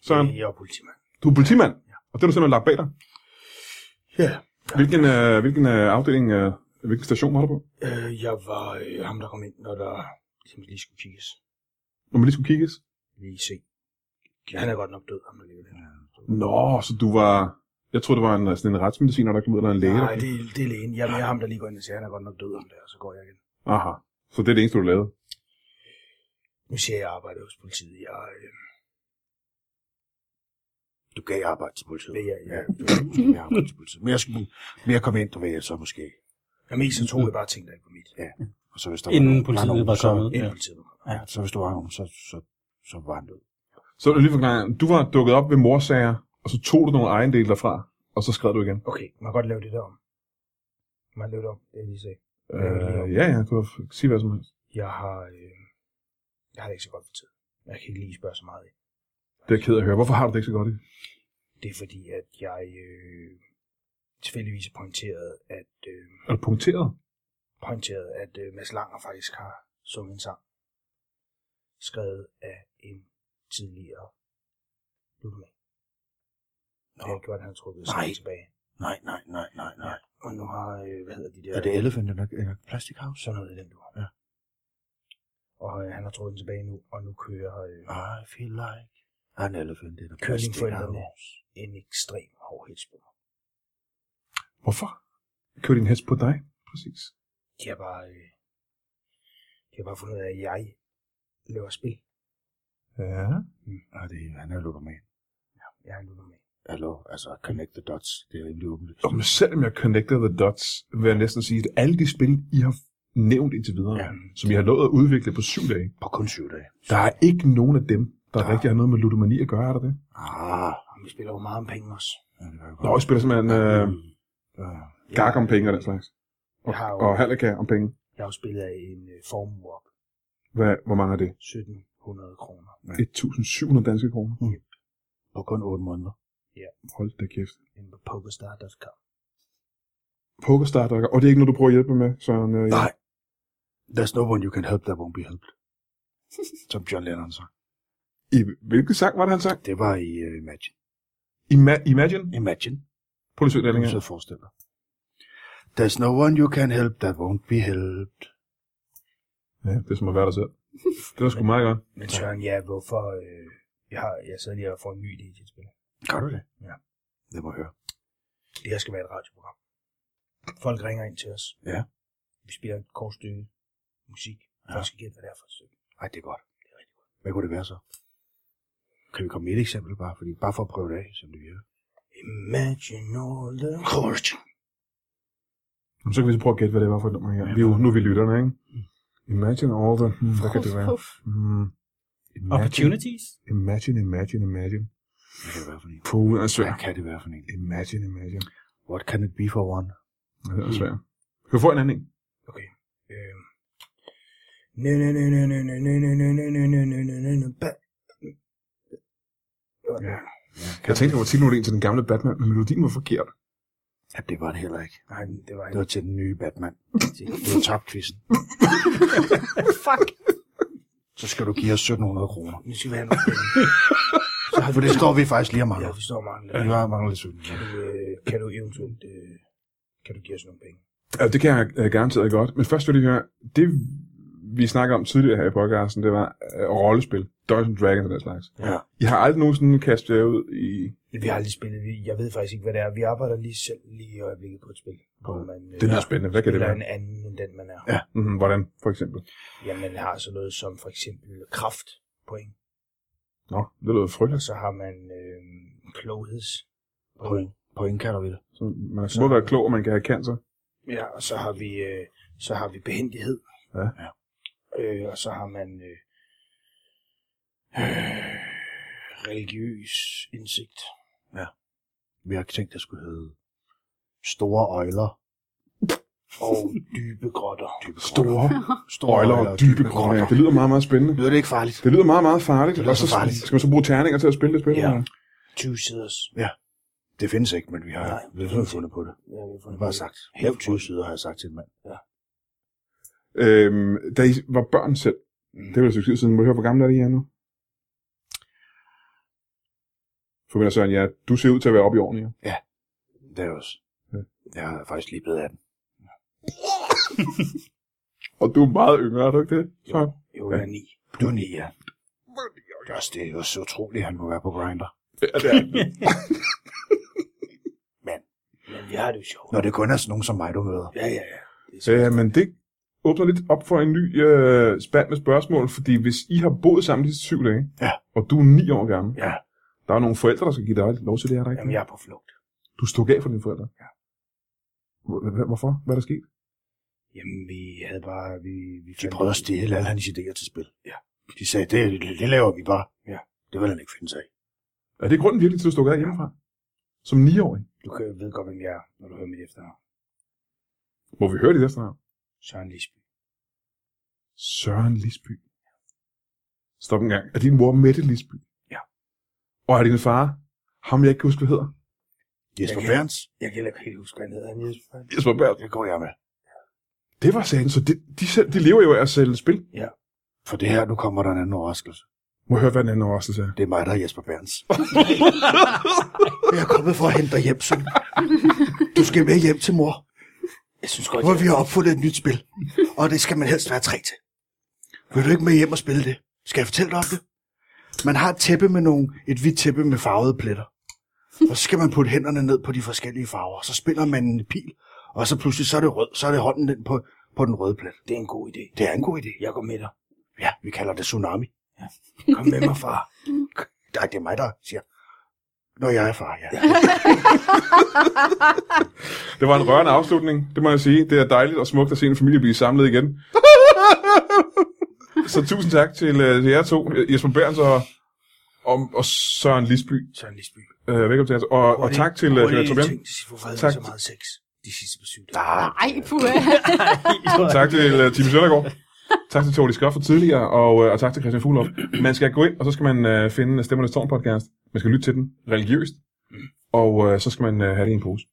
Speaker 1: Søren?
Speaker 2: Jeg var politimand.
Speaker 1: Du er politimand, og det har du simpelthen lagt bag dig.
Speaker 2: Ja.
Speaker 1: Hvilken, øh, hvilken øh, afdeling, øh, hvilken station var du på?
Speaker 2: Øh, jeg var øh, ham, der kom ind, når der ligesom lige skulle kigges.
Speaker 1: Når man lige skulle kigges?
Speaker 2: Lige se. Han er godt nok død, ham der lever der.
Speaker 1: Nå, så du var... Jeg troede, det var en, øh, sådan en retsmediciner, der kom ud, eller en læge.
Speaker 2: Nej,
Speaker 1: der...
Speaker 2: det, er- det er lægen. Jeg er ham, der lige går ind og siger, han er godt nok død om det, og så går jeg igen.
Speaker 1: Aha. Så det er det eneste, du lavede.
Speaker 2: Nu siger jeg, at jeg arbejder hos politiet. Jeg, øh,
Speaker 5: Du gav arbejde til politiet.
Speaker 2: Det, ja, ja.
Speaker 5: ja du gav mere arbejde til politiet. Men jeg skulle mere komme ind, du ved, så måske.
Speaker 2: jeg mest så tog jeg bare ting, der ikke var mit.
Speaker 5: Og så hvis der
Speaker 4: Inden
Speaker 5: nogen-
Speaker 4: politiet
Speaker 5: nogen,
Speaker 4: var
Speaker 5: så,
Speaker 4: kommet.
Speaker 2: Inden
Speaker 4: Ja.
Speaker 2: politiet var kommet.
Speaker 5: Ja, så hvis du var nogen, så, så, så var han død.
Speaker 1: Så vil jeg lige forklare, du var dukket op ved morsager, og så tog du nogle ejendele derfra, og så skrev du igen.
Speaker 2: Okay, man kan godt lave det der om. Man kan lave det om, det jeg lige sagde.
Speaker 1: Øh, ja, ja, du kan f- sige hvad som helst.
Speaker 2: Jeg har, øh, jeg har det ikke så godt for tid. Jeg kan ikke lige spørge så meget. ind.
Speaker 1: Det er jeg ked af at høre. Hvorfor har du det ikke så godt i?
Speaker 2: Det er fordi, at jeg øh, tilfældigvis pointerede, at, øh,
Speaker 1: Er du punkteret?
Speaker 2: pointerede, at øh, Mads Langer faktisk har sunget en sang. Skrevet af en tidligere ludomand. Det har gjort, at han har trukket
Speaker 5: Nej.
Speaker 2: sig tilbage.
Speaker 5: Nej, nej, nej, nej, nej.
Speaker 2: Og nu har, øh, hvad hedder de der...
Speaker 5: Er det Elephant eller, eller Plastic House?
Speaker 2: Sådan noget i den du har.
Speaker 5: Ja.
Speaker 2: Og øh, han har trukket den tilbage nu, og nu kører øh,
Speaker 5: I feel like an elephant in
Speaker 2: Kører
Speaker 5: a
Speaker 2: dine
Speaker 5: plastic
Speaker 2: forældrene?
Speaker 5: house.
Speaker 2: en ekstrem hård hitsbog.
Speaker 1: Hvorfor? Kører din hest på dig? Præcis.
Speaker 2: De har bare, øh, de har bare fundet ud af, at jeg laver spil.
Speaker 1: Ja.
Speaker 5: Nej, det er, han er ludoman.
Speaker 2: Jeg er en ludomand.
Speaker 5: Hallo, altså connect the dots. Det er rimelig åbenlyst.
Speaker 1: Og men selvom jeg connected the dots, vil jeg næsten sige, at alle de spil, I har nævnt indtil videre, ja.
Speaker 5: Ja.
Speaker 1: som I har nået at udvikle på syv dage,
Speaker 5: På kun syv dage.
Speaker 1: der er ikke nogen af dem, der ja.
Speaker 5: Der-
Speaker 1: rigtig har noget med ludomani at gøre, er der det?
Speaker 5: Ah,
Speaker 2: Og vi spiller jo meget om penge også.
Speaker 5: ja, det var jo
Speaker 1: Nå, I spiller simpelthen øh,
Speaker 5: Mm. Ja.
Speaker 1: gak om penge og den slags. Og,
Speaker 2: Jeg har jo-
Speaker 1: og halaka om penge.
Speaker 2: Jeg har jo spillet af en øh, formue op.
Speaker 1: Hvad, hvor mange er det?
Speaker 2: 1700 kroner.
Speaker 1: 1.700 danske kroner.
Speaker 5: På kun 8 måneder.
Speaker 1: Hold da kæft.
Speaker 2: Inde på pokerstar.com.
Speaker 1: Pokerstar, der, og det er ikke noget, du prøver at hjælpe med, Søren? Øh,
Speaker 5: Nej. There's no one you can help that won't be helped. Som John Lennon sang.
Speaker 1: I, hvilken sang var det, han sang?
Speaker 5: Det var i uh, Imagine.
Speaker 1: Ima- Imagine?
Speaker 5: Imagine.
Speaker 1: Prøv lige at søge den
Speaker 5: Du
Speaker 1: her.
Speaker 5: så forestille dig. There's no one you can help that won't be helped.
Speaker 1: Ja, det er som at være der selv. Det var sgu meget godt.
Speaker 2: Men Søren, ja, hvorfor... Øh, jeg, har, jeg sidder lige og får en ny idé til et spil.
Speaker 5: Kan du det?
Speaker 2: Ja.
Speaker 5: Det må jeg høre.
Speaker 2: Det her skal være et radioprogram. Folk ringer ind til os.
Speaker 5: Ja.
Speaker 2: Vi spiller et kort stykke musik. Folk skal gætte, hvad det er for et stykke.
Speaker 5: Ej, det er godt. Det er rigtig godt. Hvad kunne det være så? Kan vi komme med et eksempel bare? Fordi, bare for at prøve det af, som det virker.
Speaker 2: Imagine all the...
Speaker 1: Jamen, Så kan vi så prøve at gætte, hvad det var for et nummer her. Vi er jo, nu er vi lytterne, ikke? Mm. Imagine all the... Hmm, hvad kan det være?
Speaker 3: Puff,
Speaker 1: Hmm. Imagine,
Speaker 4: Opportunities?
Speaker 1: imagine, imagine, imagine.
Speaker 5: Hvad kan det være for en?
Speaker 1: Puh, den er svær.
Speaker 5: Hvad kan det være for en?
Speaker 1: Imagine, imagine.
Speaker 5: What can it be for one?
Speaker 1: Ja, Den er svær. Kan du få en anden en?
Speaker 2: Øh, nø, nø, nø, nø, nø, nø, nø, nø, nø, nø, nø, nø, nø, nø, nø, ba-
Speaker 1: Jeg tænkte, at jeg var en til den gamle Batman, men melodien var forkert.
Speaker 5: Ja, det var det heller ikke.
Speaker 2: Nej, det var
Speaker 5: Det
Speaker 2: ikke.
Speaker 5: var til den nye Batman. Du har tabt quizzen.
Speaker 3: fuck.
Speaker 5: Så skal du give os 1700 kroner.
Speaker 2: Nu skal vi have noget.
Speaker 5: Så for det står vi faktisk lige
Speaker 2: Jeg
Speaker 5: og mangler.
Speaker 2: forstår mange.
Speaker 5: Vi har manglet 1700.
Speaker 2: Øh, kan du eventuelt... Øh, kan du give os nogle penge?
Speaker 1: Ja, det kan jeg øh, garanteret godt. Men først vil jeg lige høre, det vi snakker om tidligere her i podcasten, det var øh, rollespil. Dungeons and Dragons og den slags.
Speaker 5: Ja.
Speaker 1: I har aldrig nogensinde kastet jer ud i...
Speaker 2: Vi har aldrig spillet, vi- jeg ved faktisk ikke, hvad det er. Vi arbejder lige selv lige i øjeblikket på et spil, hvor man øh,
Speaker 1: Det lyder spændende. Hvad kan det
Speaker 2: spiller
Speaker 1: være?
Speaker 2: en anden end den, man er.
Speaker 5: Ja.
Speaker 1: Mm-hmm, hvordan, for eksempel?
Speaker 2: Ja, man har sådan noget som for eksempel kraft point,
Speaker 1: Nå, det lyder
Speaker 2: og
Speaker 1: frygteligt.
Speaker 2: så har man øh, klogheds
Speaker 5: Point. Point kalder vi det.
Speaker 1: Så man skal både være klog, og man kan have cancer.
Speaker 2: Ja, og så har vi, øh, så har vi behendighed.
Speaker 1: Ja.
Speaker 5: Ja.
Speaker 2: Øh, og så har man øh, øh, religiøs indsigt.
Speaker 5: Vi har tænkt, det skulle hedde store øjler.
Speaker 2: Og dybe grotter.
Speaker 5: Dybe
Speaker 1: Store
Speaker 5: store
Speaker 1: øjler og dybe grotter. Det lyder meget, meget spændende.
Speaker 5: Lyder det ikke farligt?
Speaker 1: Det lyder meget, meget farligt.
Speaker 5: Det lyder
Speaker 1: Og så
Speaker 5: så farligt.
Speaker 1: skal man så bruge terninger til at spille det spil.
Speaker 2: Ja.
Speaker 1: eller?
Speaker 2: 20 siders.
Speaker 5: Det findes ikke, men vi har,
Speaker 2: Nej,
Speaker 5: vi har fundet på det.
Speaker 2: Ja, vi har
Speaker 5: Jeg
Speaker 2: fundet
Speaker 5: har bare
Speaker 2: på det.
Speaker 5: sagt.
Speaker 2: Helt
Speaker 5: 20 sider har jeg sagt til en mand.
Speaker 1: Øhm, da I var børn selv, det var et stykke tid siden, må jeg høre, hvor gamle er det, I er nu? Forventer Søren, ja, du ser ud til at være oppe i årene, ja.
Speaker 5: Det er jo også.
Speaker 1: Ja.
Speaker 5: Jeg er faktisk lige blevet 18.
Speaker 1: Og du er meget yngre, er du ikke det? Søren?
Speaker 2: Jo, jeg er 9.
Speaker 5: Du er 9, ja. Det er også, det er jo så utroligt, at han må være på grinder.
Speaker 1: Ja, det er det.
Speaker 2: Men vi har det jo sjovt.
Speaker 5: Når det kun er sådan nogen som mig, du møder.
Speaker 2: Ja, ja, ja. Det er
Speaker 1: Så,
Speaker 2: sjovt.
Speaker 1: ja, men det åbner lidt op for en ny øh, spand med spørgsmål, fordi hvis I har boet sammen de sidste syv dage,
Speaker 5: Ja.
Speaker 1: og du er ni år gammel,
Speaker 5: Ja.
Speaker 1: der er nogle forældre, der skal give dig lov til det, er der ikke?
Speaker 2: Jamen, jeg er på flugt.
Speaker 1: Du stod af for dine forældre? Ja. Hvorfor? Hvad er der sket?
Speaker 2: Jamen, vi havde bare... Vi, vi
Speaker 5: De
Speaker 2: fandt-
Speaker 5: prøvede at stjæle alle hans idéer til spil.
Speaker 2: Ja.
Speaker 5: De sagde, det, det, det laver vi bare.
Speaker 2: Ja.
Speaker 5: Det vil han ikke finde sig i.
Speaker 1: Er det grunden virkelig til, at du stod af hjemmefra? Som niårig?
Speaker 2: Du kan ved godt, hvem jeg er, når du hører mit efternavn.
Speaker 1: Må vi høre dit efternavn?
Speaker 2: Søren Lisby.
Speaker 1: Søren Lisby. Stop en gang. Er din mor Mette Lisby?
Speaker 2: Ja.
Speaker 1: Og er din far, ham jeg ikke kan huske, hvad hedder?
Speaker 5: Jesper
Speaker 2: kan-
Speaker 5: Berns,
Speaker 2: Jeg kan heller ikke helt huske, hvad han hedder. Han hedder
Speaker 1: Jesper Bært.
Speaker 5: det går jeg med.
Speaker 1: Det var sagen, så de, de, selv, de lever jo af at sælge spil.
Speaker 5: For det her, nu kommer der en anden overraskelse.
Speaker 1: Må jeg høre, hvad den anden overraskelse er?
Speaker 5: Det er mig, der er Jesper Berns. jeg er kommet for at hente dig hjem, søn. Du skal med hjem til mor,
Speaker 2: Jeg synes godt,
Speaker 5: hvor
Speaker 2: jeg...
Speaker 5: vi har opfundet et nyt spil. Og det skal man helst være tre til. Vil du ikke med hjem og spille det? Skal jeg fortælle dig om det? Man har et tæppe med nogle, et hvidt tæppe med farvede pletter. Og så skal man putte hænderne ned på de forskellige farver. Så spiller man en pil, og så pludselig så er det, rød, så er det hånden den på, på den røde plet.
Speaker 2: Det er en god idé.
Speaker 5: Det er en god idé.
Speaker 2: Jeg går med dig.
Speaker 5: Ja, vi kalder det tsunami.
Speaker 2: Kom med mig, far.
Speaker 5: Nej, det er mig, der siger. Når jeg er far, ja.
Speaker 1: Det var en rørende afslutning, det må jeg sige. Det er dejligt og smukt at se en familie blive samlet igen. så tusind tak til, øh, til jer to, øh, Jesper Bærens og, og, og Søren Lisby.
Speaker 2: Søren Lisby.
Speaker 1: Øh, velkommen til jer. Og, og tak til, øh, til Tobias.
Speaker 2: Hvorfor havde
Speaker 1: Tak.
Speaker 2: vi så meget sex?
Speaker 6: de sidste par syv dage.
Speaker 3: Nej, puha.
Speaker 1: Tak til uh, Tim Søndergaard. Tak til Tony Skov for tidligere, og, uh, og tak til Christian Fuglov. Man skal gå ind, og så skal man uh, finde Stemmernes Tårn podcast. Man skal lytte til den religiøst, og uh, så skal man uh, have det i en pose.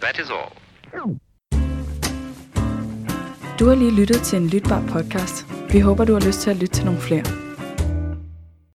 Speaker 7: That is all.
Speaker 8: Du har lige lyttet til en lytbar podcast. Vi håber, du har lyst til at lytte til nogle flere.